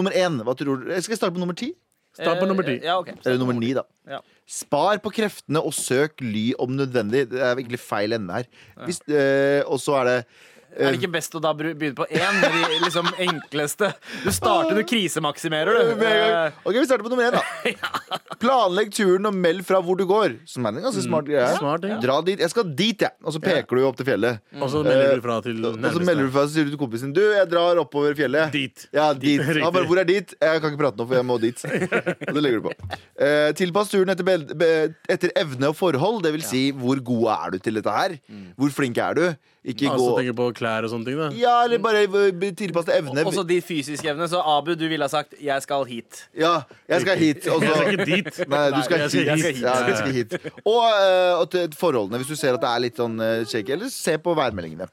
Speaker 2: nummer én. Hva tror du? Jeg skal starte på nummer ti.
Speaker 5: Start på nummer ti.
Speaker 3: Eh, Ja, ok.
Speaker 2: Eller nummer ni, da.
Speaker 3: Ja.
Speaker 2: Spar på kreftene og søk ly om nødvendig. Det er egentlig feil ende her. Hvis, eh, og så er det
Speaker 3: Er det ikke best å da bru- begynne på én, med de liksom enkleste? Du starter, du krisemaksimerer, du.
Speaker 2: Med en gang.
Speaker 3: Eh,
Speaker 2: Ok, Vi starter på nummer én, da. Planlegg turen og meld fra hvor du går. Som er en ganske smart greie.
Speaker 5: Smart, ja. Mm.
Speaker 2: Dra dit. Jeg skal dit, jeg. Og så peker du opp til fjellet.
Speaker 5: Og så melder du fra til
Speaker 2: Og Eh, så melder du fra så sier du til kompisen Du, jeg drar oppover fjellet.
Speaker 5: Dit.
Speaker 2: Ja, dit.
Speaker 5: Riktig.
Speaker 2: Han bare, hvor er dit? Jeg kan ikke prate nå, for jeg må dit. Og det legger du på. Eh, tilpass turen etter, bel- be- etter evne og forhold. Det vil si, hvor god er du til dette her? Hvor flink er du? Ikke
Speaker 5: Mm. Altså
Speaker 2: gå
Speaker 5: tenker på klær og sånne ting, da.
Speaker 2: Ja, eller bare eh, tilpass til evne.
Speaker 3: Også de fysiske evnene. Så Abu, du ville ha sagt 'jeg skal hit'.
Speaker 2: Ja, jeg skal hit. Og
Speaker 5: Jeg
Speaker 2: så
Speaker 5: skal ikke dit.
Speaker 2: altså- Nei, du skal,
Speaker 5: jeg skal
Speaker 2: hit.
Speaker 5: hit.
Speaker 2: Ja, du skal hit. Og, eh, og til forholdene, hvis du ser at det er litt sånn eh, shaky. Eller se på værmeldingene.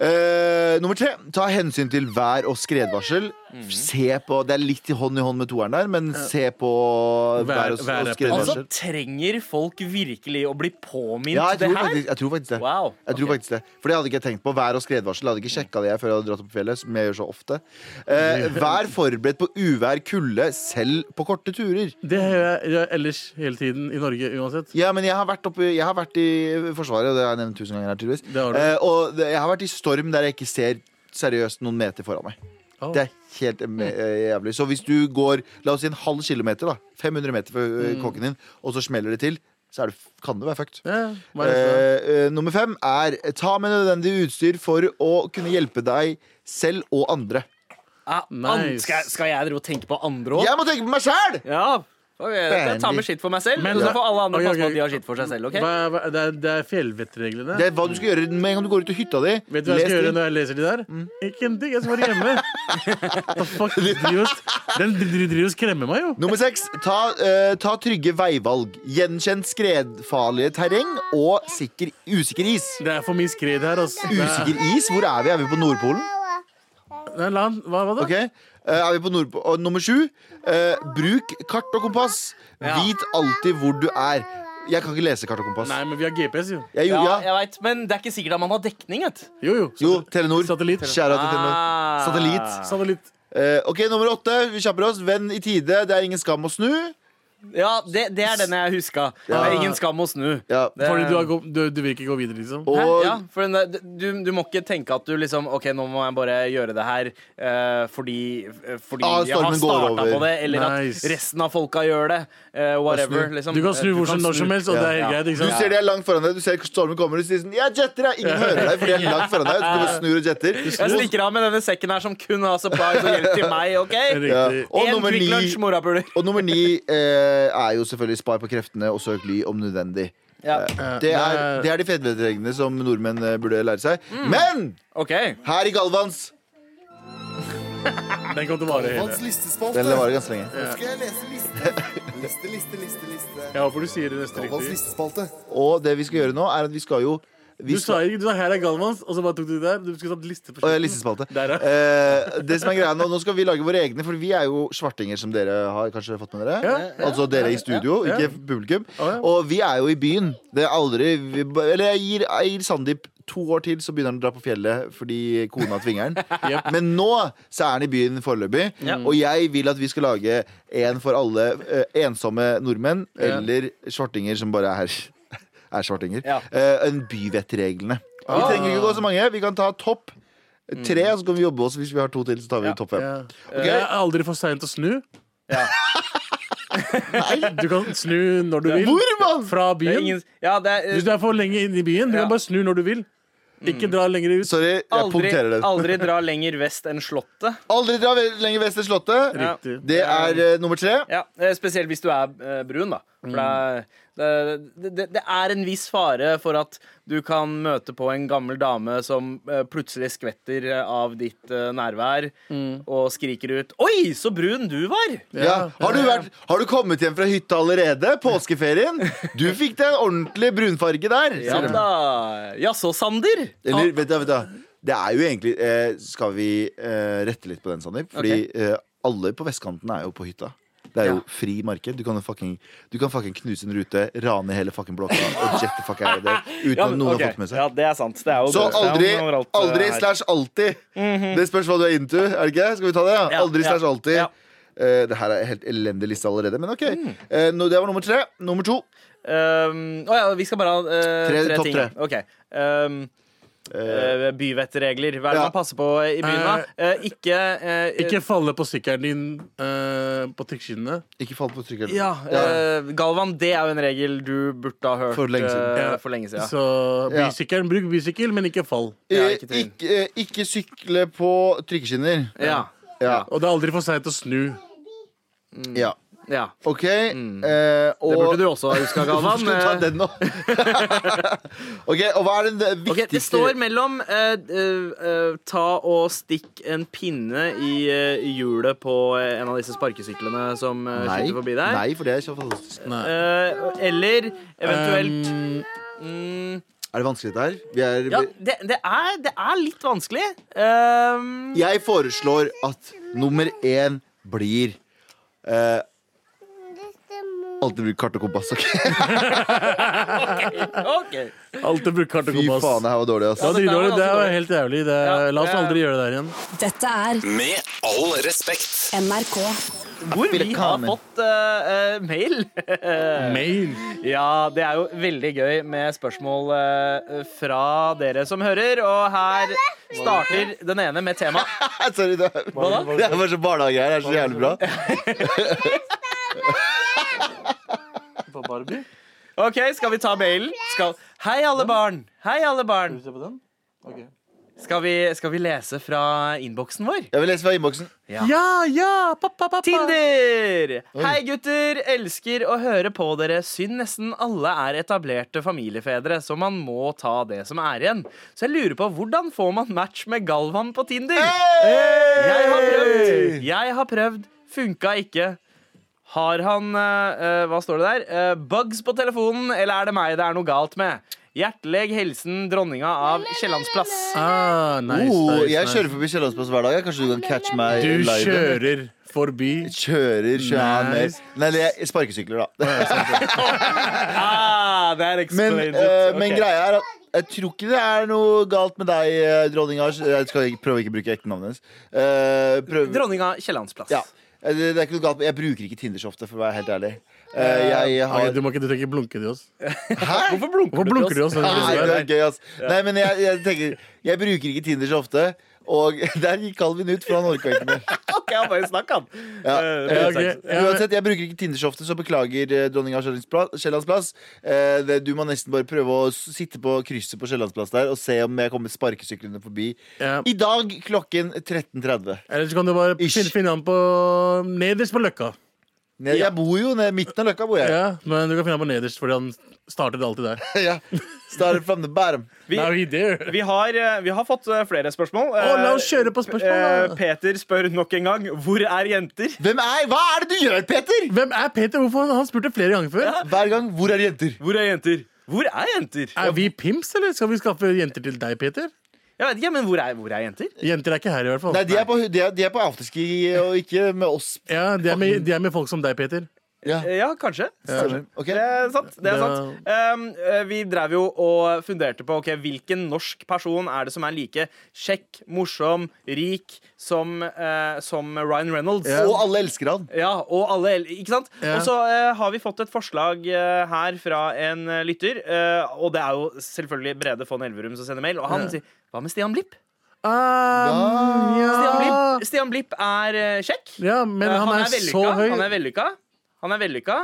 Speaker 2: Eh, nummer tre. Ta hensyn til vær- og skredvarsel. Se på, Det er litt i hånd i hånd med toeren der, men se på vær,
Speaker 5: Vær-
Speaker 2: og, og
Speaker 5: værappen.
Speaker 2: skredvarsel.
Speaker 3: Altså, trenger folk virkelig å bli påminnet
Speaker 2: Ja, jeg
Speaker 3: det
Speaker 2: tror,
Speaker 3: her?
Speaker 2: faktisk, jeg tror faktisk det.
Speaker 3: Wow,
Speaker 2: Jeg tror
Speaker 3: ok.
Speaker 2: faktisk det For det hadde ikke jeg tenkt på. Vær- og skredvarsel. Jeg hadde ikke sjekka det jeg før jeg hadde dratt opp på fjellet. Som jeg gjør så ofte eh, Vær forberedt på uvær, kulde, selv på korte turer.
Speaker 5: Det gjør jeg gjør jeg ellers hele tiden i Norge uansett.
Speaker 2: Ja, men jeg har vært, oppe, jeg har vært i Forsvaret, og det har jeg nevnt tusen ganger her, tydeligvis.
Speaker 5: Det har du.
Speaker 2: Eh, og det- jeg har vært i storm der jeg ikke ser seriøst noen meter foran meg.
Speaker 5: Oh.
Speaker 2: Det er helt em- eh, jævlig. Så hvis du går la oss si en halv kilometer, da 500 meter fra eh,
Speaker 5: Mm.
Speaker 2: kåken din, og så smeller det til, så er det, f- kan du være fucked.
Speaker 5: Ja, hva er neste?
Speaker 2: Eh, eh, nummer fem er eh, ta med nødvendig utstyr for å kunne hjelpe deg selv og andre.
Speaker 3: Ja, an-
Speaker 5: Nice.
Speaker 3: Ah, skal, skal jeg drive og tenke på andre òg?
Speaker 2: Jeg må tenke på meg sjæl!
Speaker 3: Ja. Ok, jeg tar med skitt for meg selv,
Speaker 5: Men-
Speaker 3: men så får alle andre
Speaker 5: Ok,
Speaker 3: passe på
Speaker 5: ok.
Speaker 3: at de har skitt for seg selv. ok?
Speaker 5: hva, hva, det er, det er fjellvettreglene.
Speaker 2: Det er hva du skal gjøre med en gang du går ut av hytta di.
Speaker 5: Vet du hva jeg
Speaker 2: Les Mm.
Speaker 5: skal gjøre
Speaker 2: litt.
Speaker 5: når jeg leser de der? Ikke en digg, jeg skal være hjemme. The fuck, de driver oss- Den dri- dri- driver og skremmer meg, jo.
Speaker 2: Nummer seks. Ta, eh, ta trygge veivalg. Gjenkjenn skredfarlige terreng og sikker, usikker is.
Speaker 5: Det er for mye skred her. ass. Det er-
Speaker 2: Usikker is? Hvor er vi? Er vi på Nordpolen?
Speaker 5: Nei, la han- Hva, hva da?
Speaker 2: Ok, Eh, er vi på Nordpo og Nummer sju. eh, bruk kart og kompass. Vit alltid hvor du er. Jeg kan ikke lese kart og kompass.
Speaker 5: Nei, men vi har GPS, jo.
Speaker 2: Jeg
Speaker 3: Ja,
Speaker 2: gjorde, ja.
Speaker 3: jeg vet, men det er ikke sikkert at man har dekning. Vet. du.
Speaker 5: Jo, jo.
Speaker 2: Jo, Telenor.
Speaker 5: Satellitt.
Speaker 2: Kjære til Telenor.
Speaker 3: Ah.
Speaker 2: Satellitt.
Speaker 5: Satellitt.
Speaker 2: Eh, ok, nummer åtte. Vi kjapper oss. Venn i tide. Det er ingen skam å snu.
Speaker 3: Ja, det, det er den jeg huska. Det er ingen skam å snu.
Speaker 2: Ja.
Speaker 3: Det-
Speaker 5: Fordi du, har gå, du, du vil ikke gå videre, liksom?
Speaker 2: Og
Speaker 3: Hæ? Ja, for den der, du, du må ikke tenke at du liksom OK, nå må jeg bare gjøre det her eh, fordi, eh, fordi
Speaker 2: Ah,
Speaker 3: jeg
Speaker 2: stormen
Speaker 3: har
Speaker 2: går
Speaker 3: starta
Speaker 2: over.
Speaker 3: på det, eller
Speaker 5: Nice.
Speaker 3: at resten av folka gjør det. eh, whatever,
Speaker 2: snu.
Speaker 3: liksom.
Speaker 5: Du kan snu
Speaker 3: Eh,
Speaker 5: hvor som
Speaker 3: kan
Speaker 5: når
Speaker 3: snu.
Speaker 5: som helst, og
Speaker 2: Ja.
Speaker 5: det er helt
Speaker 3: Ja.
Speaker 5: greit. ikke
Speaker 2: Du
Speaker 5: sant?
Speaker 2: ser de er langt foran deg, du ser stormen kommer, og du sier sånn Jeg jetter, jeg! Ingen hører deg, for de er langt foran deg. Så du bare snur og jetter.
Speaker 3: Jeg stikker av med denne sekken her som kun har supplies og hjelp til meg, OK?
Speaker 2: Ja.
Speaker 5: Riktig.
Speaker 2: Og
Speaker 3: Én
Speaker 2: nummer
Speaker 3: Kvikk
Speaker 2: ni,
Speaker 3: Lunsj, morapuler.
Speaker 2: og nummer ni eh, er jo selvfølgelig spar på kreftene og søk ly om nødvendig.
Speaker 3: Ja.
Speaker 2: Det er, det er de fedmereglene som nordmenn eh, burde lære seg. Men
Speaker 3: OK.
Speaker 2: her i Galvans
Speaker 5: Den kommer til å vare hele.
Speaker 7: Hans listespalte.
Speaker 2: Den varer ganske lenge.
Speaker 7: Nå skal jeg lese liste. Liste, liste, liste, liste.
Speaker 5: Jeg håper du sier det neste
Speaker 7: Hans
Speaker 5: riktig.
Speaker 7: listespalte.
Speaker 2: Og det vi skal gjøre nå, er at vi skal jo vi
Speaker 5: Du sa ikke, du sa her er Galvans, og så bare tok du det der. Du skulle tatt liste på
Speaker 2: Å, ja,
Speaker 5: slutten.
Speaker 2: listespalte.
Speaker 5: Der, ja.
Speaker 2: Eh, det som er greia Nå nå skal vi lage våre egne, for vi er jo svartinger, som dere har kanskje fått med dere.
Speaker 5: Ja, ja,
Speaker 2: altså dere i studio,
Speaker 5: ja.
Speaker 2: ikke publikum.
Speaker 5: ja.
Speaker 2: Og vi er jo i byen. Det er aldri vi, ba- Eller jeg gir, jeg gir Sandeep to år til, så begynner han å dra på fjellet fordi kona tvinger han.
Speaker 5: Jep.
Speaker 2: Men nå så er han i byen foreløpig,
Speaker 3: Ja.
Speaker 2: og jeg vil at vi skal lage en for alle eh, ensomme nordmenn eller svartinger som bare er er svartinger.
Speaker 3: Ja.
Speaker 2: Eh, en byvettreglene. Vi
Speaker 5: Ah.
Speaker 2: trenger ikke gå så mange. Vi kan ta topp tre, og så kan vi jobbe oss. Hvis vi har to til, så tar vi topp fem.
Speaker 5: Ja.
Speaker 2: Ok.
Speaker 5: Det er aldri for seint å snu.
Speaker 3: Ja.
Speaker 5: Du kan snu når du vil.
Speaker 2: Hvor, mann?!
Speaker 5: Fra
Speaker 3: Det er
Speaker 5: byen.
Speaker 3: ingen, ja, det
Speaker 5: Hvis
Speaker 3: er,
Speaker 5: du er for lenge inne i byen, du
Speaker 3: Ja. Mm.
Speaker 5: kan bare snu når du vil. Ikke dra lenger ut.
Speaker 2: Sorry, jeg
Speaker 3: eh, aldri,
Speaker 2: punkterer det. Aldri,
Speaker 3: aldri dra lenger vest enn Slottet.
Speaker 2: dra ve- lenger vest til Slottet.
Speaker 3: Ja.
Speaker 5: Riktig.
Speaker 2: Det er eh, nummer tre.
Speaker 3: Ja, eh, Spesielt hvis du er eh, brun, da. For det, er, det, det, det er en viss fare for at du kan møte på en gammel dame som eh, plutselig skvetter eh, av ditt eh, nærvær og skriker ut 'Oi, så brun du var!'
Speaker 2: Mm. Ja. Har, du vært, har du kommet hjem fra hytta allerede? Påskeferien? Du fikk deg en ordentlig brunfarge der.
Speaker 3: Ja
Speaker 2: sier de.
Speaker 3: da. Jaså, Sander?
Speaker 2: Eller, vet du, hva, vet du, hva, det er jo egentlig eh, Skal vi eh, rette litt på den, Sandeep? Fordi eh, alle på vestkanten er jo på hytta. Det er jo
Speaker 3: Ja.
Speaker 2: fri marked. Du kan, jo fucking, du kan fucking knuse en rute, rane hele fucking blokka og jet the fuck out of there uten
Speaker 3: Ja,
Speaker 2: at
Speaker 3: men,
Speaker 2: noen
Speaker 3: ok.
Speaker 2: har fått med seg.
Speaker 3: ja, det er sant. Det er jo
Speaker 2: Så
Speaker 3: det er jo
Speaker 2: aldri,
Speaker 3: overalt, eh,
Speaker 2: aldri
Speaker 3: her. Mhm.
Speaker 2: slash alltid. Det spørs hva du er into. Er det ikke? Skal vi ta det? Ja?
Speaker 3: Ja,
Speaker 2: Aldri
Speaker 3: ja,
Speaker 2: slash alltid.
Speaker 3: ja. Mm.
Speaker 2: Eh, det her er helt elendig liste allerede, men OK. Eh, nå- det var nummer tre. Nummer to.
Speaker 3: Um, å ja, vi skal bare ha eh,
Speaker 2: Tre-
Speaker 3: tre,
Speaker 2: topp
Speaker 3: ting.
Speaker 2: tre.
Speaker 3: Ok. Um, eh, byvettregler. Hva er det
Speaker 2: ja.
Speaker 3: man passer på i byen, da? Eh, ikke eh,
Speaker 5: Ikke falle på sykkelen din eh, på trikkskinnene.
Speaker 2: Ikke fall på trykkeren.
Speaker 3: Ja, eh, Galvan, det er jo en regel du burde ha hørt
Speaker 2: For lenge siden.
Speaker 3: eh,
Speaker 5: Ja.
Speaker 3: for lenge siden.
Speaker 5: Så
Speaker 2: Ja.
Speaker 5: bysykkelen, bruk bysykkel, men ikke fall.
Speaker 3: Ja,
Speaker 2: Eh,
Speaker 3: ikke tvil.
Speaker 2: ikke, eh, ikke sykle på trykkeskinner.
Speaker 3: Ja,
Speaker 2: Ja.
Speaker 5: Og det er aldri for seint å snu.
Speaker 2: ja.
Speaker 3: ja.
Speaker 2: OK. Eh, og
Speaker 3: Mm. Det burde du også ha huska,
Speaker 2: Hvorfor
Speaker 3: Galvan.
Speaker 2: skulle du ta
Speaker 3: Eh,
Speaker 2: den nå? ok, og hva er den det
Speaker 3: Ok,
Speaker 2: viktigste
Speaker 3: Det står mellom eh, eh, eh, ta og stikk en pinne i eh, hjulet på eh, en av disse sparkesyklene som uh,
Speaker 2: Nei.
Speaker 3: skyter forbi der.
Speaker 2: Nei, for det er så fantastisk.
Speaker 3: Eh, eller eventuelt
Speaker 2: Ehm.
Speaker 3: mm,
Speaker 2: Er det vanskelig dette her? Vi er,
Speaker 3: Ja, det, det, er, det er litt vanskelig. Um,
Speaker 2: Jeg foreslår at nummer én blir eh, Alltid bruk kart og kompass. ok?
Speaker 3: OK.
Speaker 5: Um, alltid bruk kart og
Speaker 2: Fy
Speaker 5: kompass.
Speaker 2: faen, det her var dårlig.
Speaker 5: Ja,
Speaker 2: ass
Speaker 5: det,
Speaker 3: dette var
Speaker 5: er- det er
Speaker 3: ganske
Speaker 5: jo helt jævlig. Det er,
Speaker 3: Ja.
Speaker 5: la oss
Speaker 3: Ja.
Speaker 5: aldri gjøre det der igjen.
Speaker 4: Dette er
Speaker 1: Med all respekt.
Speaker 4: NRK.
Speaker 3: Hvor vi har
Speaker 2: Velkommen.
Speaker 3: fått eh, eh, mail.
Speaker 5: Mail.
Speaker 3: ja, det er jo veldig gøy med spørsmål eh, fra dere som hører. Og her starter den ene med tema.
Speaker 2: Sorry, det er, det er bare så barnehage her. Det er så jævlig bra.
Speaker 5: Barbie?
Speaker 3: OK, skal vi ta mailen? Skal... Hei, alle barn. Hei, alle barn.
Speaker 5: se på den?
Speaker 3: Skal vi, skal vi lese fra innboksen vår?
Speaker 2: Jeg vil lese fra innboksen.
Speaker 5: Ja, ja! Pappa, pappa.
Speaker 3: Tinder! Hei, gutter! Elsker å høre på dere. Synd nesten alle er etablerte familiefedre, så man må ta det som er igjen. Så jeg lurer på hvordan får man match med Galvan på Tinder? Jeg har prøvd. Jeg har prøvd. Funka ikke. Har han eh, eh, Hva står det der? Eh, bugs på telefonen, eller er det meg det er noe galt med? Hjertelig hilsen dronninga av Kiellandsplass.
Speaker 5: Ah, nice,
Speaker 2: Oh,
Speaker 5: nice,
Speaker 2: jeg
Speaker 5: nice.
Speaker 2: kjører forbi Kiellandsplass hver dag. jeg. Kanskje du kan catche meg
Speaker 5: Du
Speaker 2: live?
Speaker 5: kjører forbi.
Speaker 2: Kjører, kjører
Speaker 5: Nice.
Speaker 2: Nei, det er sparkesykler, da.
Speaker 3: Ah, that
Speaker 2: Men,
Speaker 3: explains
Speaker 2: eh,
Speaker 3: it.
Speaker 2: men
Speaker 3: Ok.
Speaker 2: greia er at jeg tror ikke det er noe galt med deg, eh, dronninga. Jeg skal ikke, prøver ikke å bruke ektenavnet hennes. Eh, prøv-
Speaker 3: Dronninga Kiellandsplass.
Speaker 2: Ja. Eh, Det, det er ikke noe galt med Jeg bruker ikke Tinder så ofte, for å være helt ærlig. Eh, jeg har
Speaker 5: Ok, du, må ikke, du trenger ikke blunke til oss.
Speaker 3: Hvorfor blunker,
Speaker 5: Hvorfor blunker du oss?
Speaker 2: Nei, det
Speaker 5: Nei,
Speaker 2: er gøy, ass. Nei, men jeg, jeg tenker Jeg bruker ikke Tinder så ofte. Og der gikk Calvin ut, for han orka ikke mer.
Speaker 3: Ok, han bare snakk, han.
Speaker 2: Ja.
Speaker 3: Eh,
Speaker 5: Ja,
Speaker 3: helt
Speaker 5: ok.
Speaker 3: sagt.
Speaker 5: Ja, men-
Speaker 2: Uansett, jeg bruker ikke Tinder så ofte, så beklager eh, dronning av Kiellands pla- Kiellands plass. Eh, det- Du må nesten bare prøve å s- sitte på krysset på Kiellands plass der og se om jeg kommer sparkesyklene forbi.
Speaker 5: Ja.
Speaker 2: I dag klokken 13.30.
Speaker 5: Ellers kan du bare
Speaker 2: Ish.
Speaker 5: finne, finne han på nederst på løkka.
Speaker 2: Ned- Jeg bor jo ned midten av løkka, bor jeg.
Speaker 5: Ja, men du kan finne han på nederst, fordi han startet alltid der.
Speaker 2: Ja. Started from the bottom.
Speaker 3: Vi,
Speaker 5: Now he dare.
Speaker 3: vi, har, eh, vi har fått eh, flere spørsmål.
Speaker 5: Å, la oss kjøre på
Speaker 3: Eh,
Speaker 5: spørsmål. da.
Speaker 3: Peter spør nok en gang hvor er jenter?
Speaker 2: Hvem er Hva er det du gjør, Peter?
Speaker 5: Hvem er Peter? Hvorfor han, han spurte flere ganger før.
Speaker 2: Hver gang. Hvor er jenter?
Speaker 3: Hvor er jenter? Hvor er jenter?
Speaker 5: Er vi pimps, eller skal vi skaffe jenter til deg, Peter?
Speaker 3: Jeg vet ikke, men hvor er, hvor er jenter?
Speaker 5: Jenter er ikke her, i hvert fall.
Speaker 2: Nei, de er på, de er, de er på afterski og ikke med oss.
Speaker 5: Ja, de er med, de er med folk som deg, Peter.
Speaker 2: Ja,
Speaker 3: Eh, Ja, kanskje.
Speaker 2: stemmer. Ok.
Speaker 3: Det er sant. det er
Speaker 5: Det-
Speaker 3: sant um, eh, Vi drev jo og funderte på ok, hvilken norsk person er det som er like kjekk, morsom, rik som, eh, som Ryan Reynolds.
Speaker 2: Og alle elsker han.
Speaker 3: Ja, og alle el- Ikke sant?
Speaker 5: Ja.
Speaker 3: Og så eh, har vi fått et forslag eh, her fra en eh, lytter. eh, og det er jo selvfølgelig Brede von Elverum som sender mail. Og han sier Hva med Stian Blipp?
Speaker 5: Ah,
Speaker 3: Stian
Speaker 5: ja.
Speaker 3: Blipp, Stian Blipp er eh, kjekk.
Speaker 5: ja, men
Speaker 3: Eh,
Speaker 5: han, er, så
Speaker 3: vellykka,
Speaker 5: høy.
Speaker 3: Han er vellykka. Han er vellykka.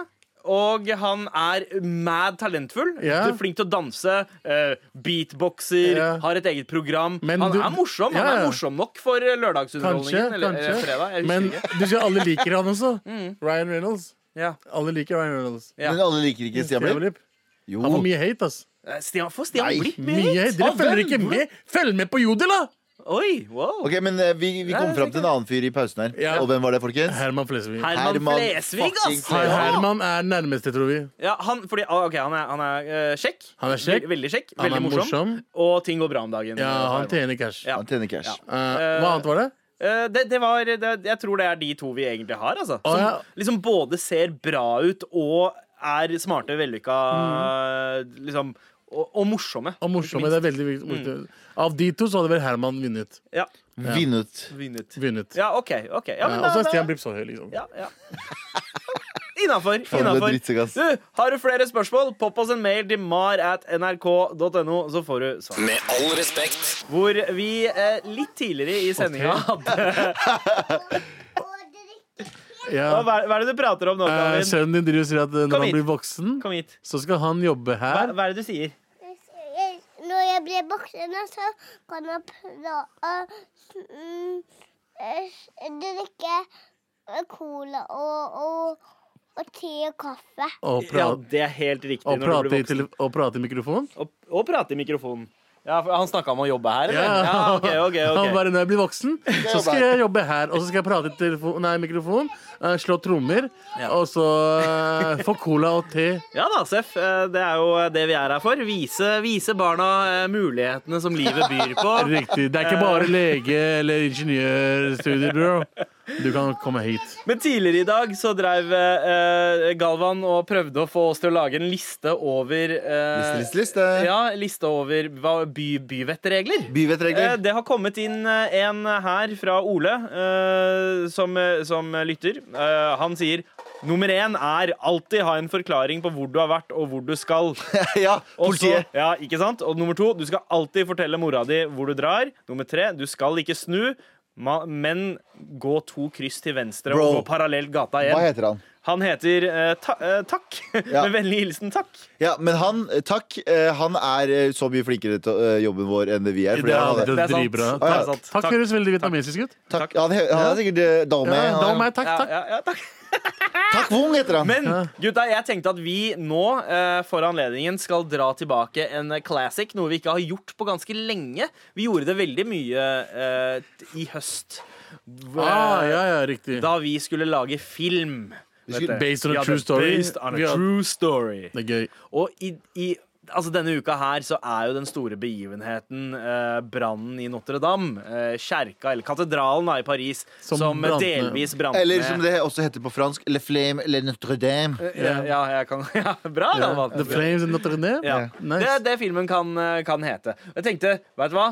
Speaker 3: Og han er mad talentfull.
Speaker 5: Ja.
Speaker 3: Flink til å danse. eh, beatboxer.
Speaker 5: Ja.
Speaker 3: Har et eget program.
Speaker 5: Men
Speaker 3: han
Speaker 5: du-
Speaker 3: er morsom
Speaker 5: Ja,
Speaker 3: Han er
Speaker 5: ja.
Speaker 3: morsom nok for eh,
Speaker 5: Kanskje,
Speaker 3: lørdagsunderholdningen. eller,
Speaker 5: kanskje.
Speaker 3: eller fredag, jeg husker
Speaker 5: Men
Speaker 3: ikke. Mm.
Speaker 5: du sier alle liker han også. Ryan Reynolds.
Speaker 3: Ja.
Speaker 5: Alle liker Ryan Reynolds.
Speaker 3: Ja.
Speaker 2: Men alle liker ikke Stian Blipp. Oh.
Speaker 5: Stian Blipp.
Speaker 2: Jo.
Speaker 5: Han får mye hate, ass.
Speaker 3: Eh, Stian, Får Stian
Speaker 2: Nei,
Speaker 3: Blipp med
Speaker 5: Mye
Speaker 3: hit?
Speaker 5: hate. Dere
Speaker 3: Av
Speaker 5: følger
Speaker 3: hvem?
Speaker 5: ikke med! Følg med på Jodel, da!
Speaker 3: Oi, wow.
Speaker 2: Ok, men eh, vi, vi kom
Speaker 3: Nei,
Speaker 2: fram til en annen fyr i pausen her.
Speaker 5: Ja.
Speaker 2: Og hvem var det, folkens?
Speaker 5: Herman Flesvig.
Speaker 3: Herman,
Speaker 2: Herman
Speaker 3: Flesvig,
Speaker 2: fucking
Speaker 3: ass!
Speaker 5: Her-
Speaker 2: Ja.
Speaker 5: Herman er nærmeste, tror vi.
Speaker 3: Ja, han, fordi, ah, ok, han er, han er eh, kjekk.
Speaker 5: Han er kjekk.
Speaker 3: Ve- Veldig kjekk.
Speaker 5: Han
Speaker 3: veldig
Speaker 5: er
Speaker 3: morsom.
Speaker 5: morsom.
Speaker 3: Og ting går bra om dagen.
Speaker 5: Ja,
Speaker 3: eh,
Speaker 5: han
Speaker 3: Herman.
Speaker 5: tjener cash.
Speaker 3: Ja.
Speaker 2: Han tjener cash.
Speaker 3: Ja.
Speaker 5: Eh, hva annet var det?
Speaker 3: Eh, det, det var, det, jeg tror det er de to vi egentlig har. Altså. Som
Speaker 5: Å, ja.
Speaker 3: liksom både ser bra ut og er smarte, vellykka liksom, og, og morsomme.
Speaker 5: Mhm. Og morsomme, det er veldig
Speaker 3: Mm.
Speaker 5: viktig. Av de to så hadde vel Herman vunnet.
Speaker 3: Ja,
Speaker 2: Vunnet.
Speaker 3: vunnet.
Speaker 5: vunnet.
Speaker 3: Ja, OK. ok ja,
Speaker 5: Eh,
Speaker 3: men
Speaker 5: og så
Speaker 3: da-
Speaker 5: er
Speaker 3: da-
Speaker 5: Stian Blipp så høy, liksom.
Speaker 3: ja, ja. Innafor.
Speaker 2: Faen, du er drittsekk, ass.
Speaker 3: Du, har du flere spørsmål, popp oss en mail til mar at nrk.no, så får du svar.
Speaker 1: Med all respekt.
Speaker 3: Hvor vi eh, litt tidligere i sendinga hadde
Speaker 6: og drikke.
Speaker 5: Ja.
Speaker 3: Hva er hva er det du prater om nå,
Speaker 5: Eh,
Speaker 3: Karin?
Speaker 5: sønnen din driver og sier at eh,
Speaker 3: Kom
Speaker 5: når han
Speaker 3: hit.
Speaker 5: blir voksen,
Speaker 3: Kom hit.
Speaker 5: så skal han jobbe
Speaker 3: Hva,
Speaker 5: her.
Speaker 3: hva er det du sier?
Speaker 6: Jeg- Når jeg blir voksen, så kan jeg prøve mm, eh, drikke cola og, og, og te og kaffe.
Speaker 5: Og,
Speaker 3: Ja,
Speaker 5: pra
Speaker 3: det er helt riktig.
Speaker 5: og,
Speaker 3: når du
Speaker 5: prate,
Speaker 3: blir
Speaker 5: i
Speaker 3: voksen.
Speaker 5: tele- og prate i mikrofonen.
Speaker 3: Og, og prate i mikrofonen. Ja, for Han snakka om å jobbe her, eller? Ja,
Speaker 5: Ja.
Speaker 3: ok, ok, ok.
Speaker 5: Han bare, når jeg blir voksen, så skal jeg jobbe her. Og så skal jeg prate i telefon nei, mikrofon, eh, slå trommer, og så eh, få cola og te.
Speaker 3: Ja da, Seff. eh, Det er jo det vi er her for. Vise, vise barna eh, mulighetene som livet byr på. Eh,
Speaker 5: Riktig. Det er ikke bare lege eller ingeniørstudier, bro. Du kan komme hit.
Speaker 3: Men tidligere i dag så dreiv eh, Galvan og prøvde å få oss til å lage en liste over eh,
Speaker 2: Liste, liste, liste.
Speaker 3: Ja, liste over hva- by, byvettregler. Eh,
Speaker 2: Byvettregler.
Speaker 3: Det har kommet inn eh, en her fra Ole, eh, som, eh, som lytter. Eh, Han sier nummer én er alltid ha en forklaring på hvor du har vært og hvor du skal.
Speaker 2: ja,
Speaker 3: Og så-
Speaker 2: politiet.
Speaker 3: ja, ikke sant? Og nummer to, du skal alltid fortelle mora di hvor du drar. Nummer tre, du skal ikke snu. ma- Men gå to kryss til venstre
Speaker 2: Bro.
Speaker 3: og gå parallelt gata
Speaker 2: Hva
Speaker 3: hjem.
Speaker 2: heter han?
Speaker 3: Han heter eh, ta eh, Takk.
Speaker 2: Ja.
Speaker 3: Med vennlig hilsen Takk.
Speaker 2: Ja, men han, eh, takk, eh, han er eh, så mye flinkere til eh, jobben vår enn det vi er. fordi
Speaker 5: Det
Speaker 2: han,
Speaker 5: er,
Speaker 2: er-
Speaker 5: det
Speaker 3: Det er
Speaker 5: er
Speaker 3: sant.
Speaker 5: drivbra.
Speaker 3: Det er
Speaker 5: Takk,
Speaker 3: sant.
Speaker 5: takk høres veldig vietnamesisk ut.
Speaker 2: takk. Han, he- han er sikkert eh, dame.
Speaker 5: Ja,
Speaker 2: Han
Speaker 5: da
Speaker 2: er-
Speaker 5: må jeg takk,
Speaker 3: Ja,
Speaker 5: takk.
Speaker 3: ja, ja, takk.
Speaker 2: Takk Wong heter han.
Speaker 3: Men gutta, jeg tenkte at vi nå eh, for anledningen skal dra tilbake en classic, noe vi ikke har gjort på ganske lenge. Vi gjorde det veldig mye eh, t- i høst, v-
Speaker 5: Ah, ja, ja, riktig.
Speaker 3: da vi skulle lage film.
Speaker 2: Vi skulle-
Speaker 5: Based on
Speaker 3: Vi
Speaker 5: a
Speaker 3: hadde
Speaker 5: true story.
Speaker 3: Based on a
Speaker 5: Vi hadde-
Speaker 3: true story.
Speaker 5: Det er gøy.
Speaker 3: Og i, i Altså Denne uka her så er jo den store begivenheten eh, brannen i Notre-Dame. Eh, kjerka, eller katedralen da, i Paris,
Speaker 5: Som
Speaker 3: som,
Speaker 5: brant ned.
Speaker 3: delvis brant
Speaker 2: Eller
Speaker 3: ned.
Speaker 2: som det også heter på fransk, Le Flame Le Notre-Dame.
Speaker 3: ja, ja, jeg kan ja, Bra, da,
Speaker 5: Ja.
Speaker 3: Mat.
Speaker 5: The Flames in Notre-Dame?
Speaker 3: Ja. Det
Speaker 5: Nice.
Speaker 3: er det filmen kan, eh, kan hete. Og Jeg tenkte, vet du hva?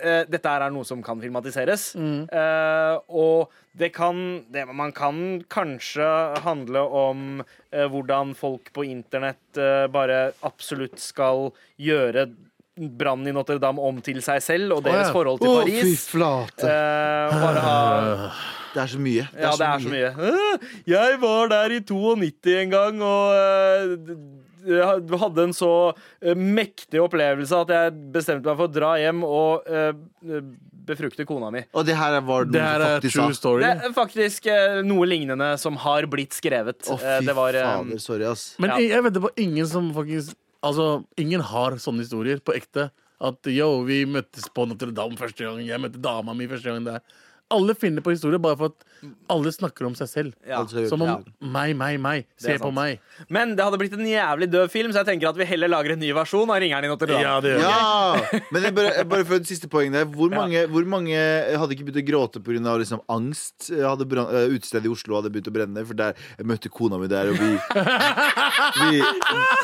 Speaker 3: Eh, Dette her er noe som kan filmatiseres.
Speaker 5: Mm.
Speaker 3: Eh, og det kan det, Man kan kanskje handle om eh, hvordan folk på internett eh, bare absolutt skal gjøre brannen i Notre-Dame om til seg selv og deres
Speaker 5: Å, ja.
Speaker 3: forhold til
Speaker 2: fy
Speaker 3: Paris.
Speaker 2: flate.
Speaker 3: Eh, bare ha
Speaker 2: Det er så mye.
Speaker 3: ja, det er så mye. «Øh, Jeg var der i 92 en gang, og øh, d- d- hadde en så øh, mektig opplevelse at jeg bestemte meg for å dra hjem og øh, øh, befrukte kona mi.
Speaker 2: Og det her var noe
Speaker 5: Det her
Speaker 2: som
Speaker 5: er
Speaker 2: faktisk
Speaker 5: true
Speaker 2: sa.
Speaker 5: story.
Speaker 3: Det er faktisk øh, noe lignende som har blitt skrevet.
Speaker 2: Å,
Speaker 3: Eh,
Speaker 2: fy
Speaker 3: Det var øh,
Speaker 2: fader. Sorry, ass.
Speaker 5: Men
Speaker 3: Ja.
Speaker 5: jeg- jeg venter på ingen som faktisk Altså, ingen har sånne historier på ekte. At yo, vi møttes på Notre-Dame første gang. Jeg møtte dama mi første gang der. Alle finner på historier bare for at alle snakker om seg selv.
Speaker 3: ja.
Speaker 2: Altså, jeg-
Speaker 5: Som
Speaker 2: Ja.
Speaker 5: om meg, meg, meg.
Speaker 3: er
Speaker 5: Se på
Speaker 3: sant.
Speaker 5: meg.
Speaker 3: Men det hadde blitt en jævlig død film, så jeg tenker at vi heller lager en ny versjon av Ringeren i Notre-Dame.
Speaker 5: det
Speaker 2: Ja! Men jeg bare, jeg bare for et siste poeng der. Hvor mange, hvor mange hadde ikke begynt å gråte pga. Liksom angst? Jeg Hadde brann- eh, Utestedet i Oslo hadde begynt å brenne, for der, jeg møtte kona mi der, og vi Vi,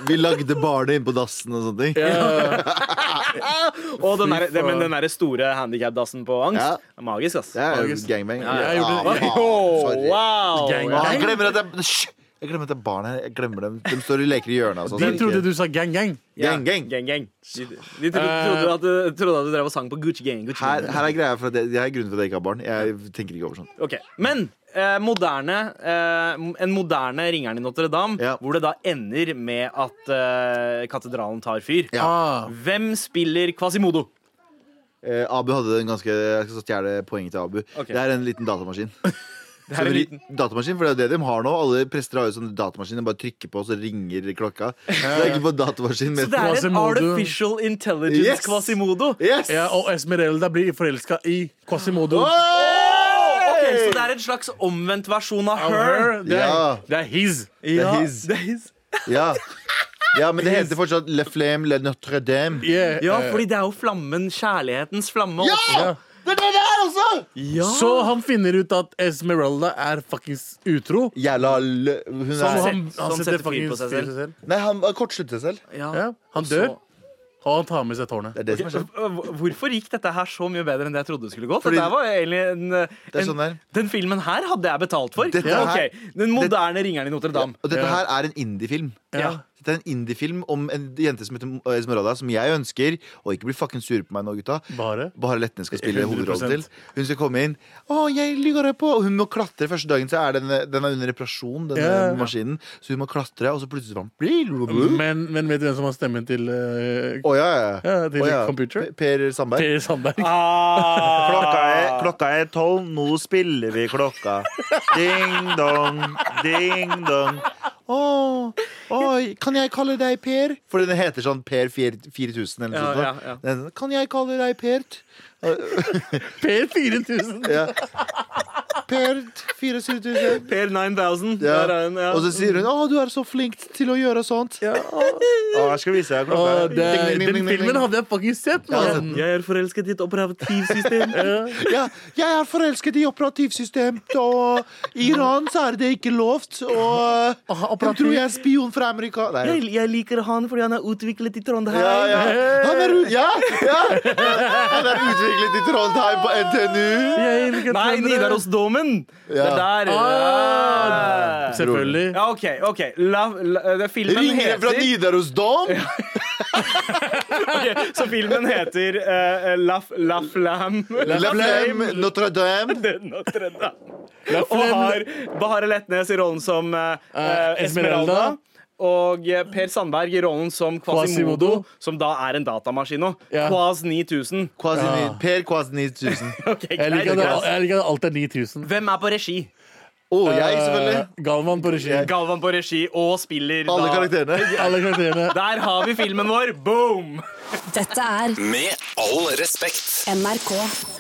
Speaker 2: vi lagde barnet inne på dassen og sånne ting.
Speaker 3: Og den
Speaker 5: Fy
Speaker 3: der, det, men
Speaker 5: faen.
Speaker 3: den der store handikapdassen på angst.
Speaker 2: Ja.
Speaker 3: er Magisk, ass.
Speaker 2: Det er jo gangbang.
Speaker 5: jeg gjorde det.
Speaker 2: Ah,
Speaker 3: Oh,
Speaker 2: sorry.
Speaker 3: wow!
Speaker 5: Gang.
Speaker 2: Ah, Jeg glemmer at det er Hysj! Jeg glemmer at det er barn her. Jeg glemmer dem. De står og leker i hjørnet. Altså.
Speaker 5: De trodde du sa gang-gang.
Speaker 3: Ja,
Speaker 2: Gang, gang.
Speaker 3: gang, gang. Eh, De, de trodde, trodde, at du, trodde at du drev og sang på Gucci Gang. Gucci
Speaker 2: her,
Speaker 3: gang.
Speaker 2: her er greia for at jeg, det er grunnen til at jeg ikke har barn. Jeg tenker ikke over sånt.
Speaker 3: Ok, Men eh, moderne, eh, en moderne Ringeren i Notre-Dame,
Speaker 2: Ja.
Speaker 3: hvor det da ender med at eh, katedralen tar fyr.
Speaker 5: Ah,
Speaker 3: Hvem spiller Quasimodo?
Speaker 2: Eh, Abu hadde en ganske Jeg skal stjele poenget til Abu.
Speaker 3: Ok.
Speaker 2: Det er en liten datamaskin.
Speaker 3: Det er en liten
Speaker 2: Datamaskin, for det er jo det de har nå. Alle prester har jo sånn datamaskin. De bare trykker på, og så ringer klokka. Så det er ikke på datamaskin.
Speaker 3: Så
Speaker 2: Men
Speaker 3: det er en
Speaker 5: Quasimodo.
Speaker 3: artificial intelligence
Speaker 2: Yes!
Speaker 3: Quasimodo.
Speaker 2: Yes!
Speaker 5: ja, og Esmerelda blir forelska i Quasimodo.
Speaker 3: Ok, Så det er en slags omvendt versjon av
Speaker 5: Av
Speaker 3: Her.
Speaker 5: her, Det
Speaker 2: Ja.
Speaker 5: er, det er his.
Speaker 3: Ja,
Speaker 2: his.
Speaker 3: det er his.
Speaker 2: Ja. ja, men det heter fortsatt Le Flemme Le Notre-Dame.
Speaker 5: Yeah,
Speaker 3: ja,
Speaker 5: eh,
Speaker 3: fordi det er jo flammen, kjærlighetens flamme. også.
Speaker 5: ja.
Speaker 2: Det er det der også!
Speaker 3: Ja.
Speaker 5: Så han finner ut at Esmeralda er fuckings utro.
Speaker 2: Jævla lø... Hun
Speaker 5: Og
Speaker 2: er
Speaker 3: Som
Speaker 5: han, han
Speaker 3: Sånn setter
Speaker 5: setter
Speaker 3: fyr på
Speaker 5: fuckings
Speaker 3: seg
Speaker 5: fyr
Speaker 3: selv.
Speaker 5: på seg selv.
Speaker 2: Nei, han kortsluttet selv.
Speaker 3: Ja.
Speaker 5: Ja, han dør, og han tar med seg tårnet.
Speaker 2: Det er det som er sånn.
Speaker 3: Hv- Hvorfor gikk dette her så mye bedre enn det jeg trodde det skulle gå? For
Speaker 2: Fordi-
Speaker 3: det var egentlig en,
Speaker 2: er
Speaker 3: en,
Speaker 2: sånn der.
Speaker 3: Den filmen her hadde jeg betalt for.
Speaker 2: Dette
Speaker 3: Ja,
Speaker 2: her-
Speaker 3: ok. Den moderne ringeren i Notre-Dame.
Speaker 2: Og dette
Speaker 5: Ja.
Speaker 2: her er en indie-film.
Speaker 3: Ja.
Speaker 2: Dette er en indie-film om en jente som heter Esmeralda, som jeg ønsker. Og ikke bli fucking sure på meg nå, gutta.
Speaker 5: Bare?
Speaker 2: Bare Letne skal spille
Speaker 5: 100%
Speaker 2: hovedrollen til. Hun skal komme inn. Å, jeg ligger her på Og hun må klatre. Første dagen så er den, den er under reparasjon, denne
Speaker 5: Ja.
Speaker 2: maskinen. Så hun må klatre, og så plutselig var han
Speaker 5: Men, men vet du hvem som har stemmen til eh,
Speaker 2: Å ja, ja.
Speaker 5: Ja, til
Speaker 2: Å,
Speaker 5: computer.
Speaker 2: P- Per Sandberg.
Speaker 5: Per Sandberg?
Speaker 8: Klokka er,
Speaker 3: Ah.
Speaker 8: klokka er tolv, nå spiller vi klokka. Ding-dong, ding-dong.
Speaker 2: Åh, oi, kan jeg kalle deg Per? For den heter sånn Per 4000 eller noe
Speaker 3: Ja,
Speaker 2: sånt.
Speaker 3: ja, ja.
Speaker 2: da. Den- Kan jeg kalle deg Per?
Speaker 5: Per 4000!
Speaker 2: Ja. Per 4000.
Speaker 3: Per 9000.
Speaker 2: Ja.
Speaker 3: Der er den, ja.
Speaker 2: Og så sier hun 'Å, du er så flink til å gjøre sånt'.
Speaker 8: Å, jeg skal vise deg klokka.
Speaker 5: Og det,
Speaker 2: Ding, ding, ding,
Speaker 5: den
Speaker 2: ding, ding.
Speaker 5: filmen hadde jeg faktisk sett. altså.
Speaker 2: Ja,
Speaker 5: Man.
Speaker 3: Jeg er forelsket i ditt operativsystem.
Speaker 2: Ja, jeg er forelsket i operativsystemet, og i Iran så er det ikke lovt. Og
Speaker 5: Ah,
Speaker 2: de tror jeg er spion fra Amerika. Nei.
Speaker 3: liker han fordi han er utviklet i Trondheim.
Speaker 2: Ja, ja. Han er, u- ja, ja. Han er utviklet i Trondheim på NTNU.
Speaker 5: Jeg liker at
Speaker 3: Nei,
Speaker 5: den-
Speaker 3: Nidarosdomen! Det
Speaker 2: Ja.
Speaker 3: er der.
Speaker 5: Ah,
Speaker 3: Ja.
Speaker 5: Selvfølgelig.
Speaker 3: Ja, OK. ok la, la, det- Filmen
Speaker 2: Ringere fra
Speaker 3: heter
Speaker 2: Nidarosdom.
Speaker 3: Ok, Så filmen heter eh, La, La Flam.
Speaker 2: La Flemme, Notre-Dame.
Speaker 3: Notre-Dame. Og
Speaker 5: Flemme.
Speaker 3: har Bahareh Letnes i rollen som eh,
Speaker 5: Eh,
Speaker 3: Esmeralda. Og eh, Per Sandberg i rollen som Quasimodo,
Speaker 5: Quasimodo.
Speaker 3: som da er en datamaskin nå.
Speaker 5: Ja.
Speaker 3: Quas 9000.
Speaker 2: Quasi
Speaker 5: Ja.
Speaker 2: ni- Per Quasi 9000.
Speaker 3: Ok,
Speaker 5: Jeg liker
Speaker 3: greit,
Speaker 5: at det-
Speaker 3: greit.
Speaker 5: jeg liker at alt er 9000.
Speaker 3: Hvem er på regi?
Speaker 2: Å, jeg, selvfølgelig.
Speaker 5: Eh, Galvan på regi.
Speaker 3: Galvan på regi og spiller
Speaker 2: Alle
Speaker 3: da
Speaker 2: karakterene.
Speaker 5: Alle karakterene.
Speaker 3: Der har vi filmen vår! Boom!
Speaker 4: Dette er
Speaker 1: Med all respekt.
Speaker 4: NRK.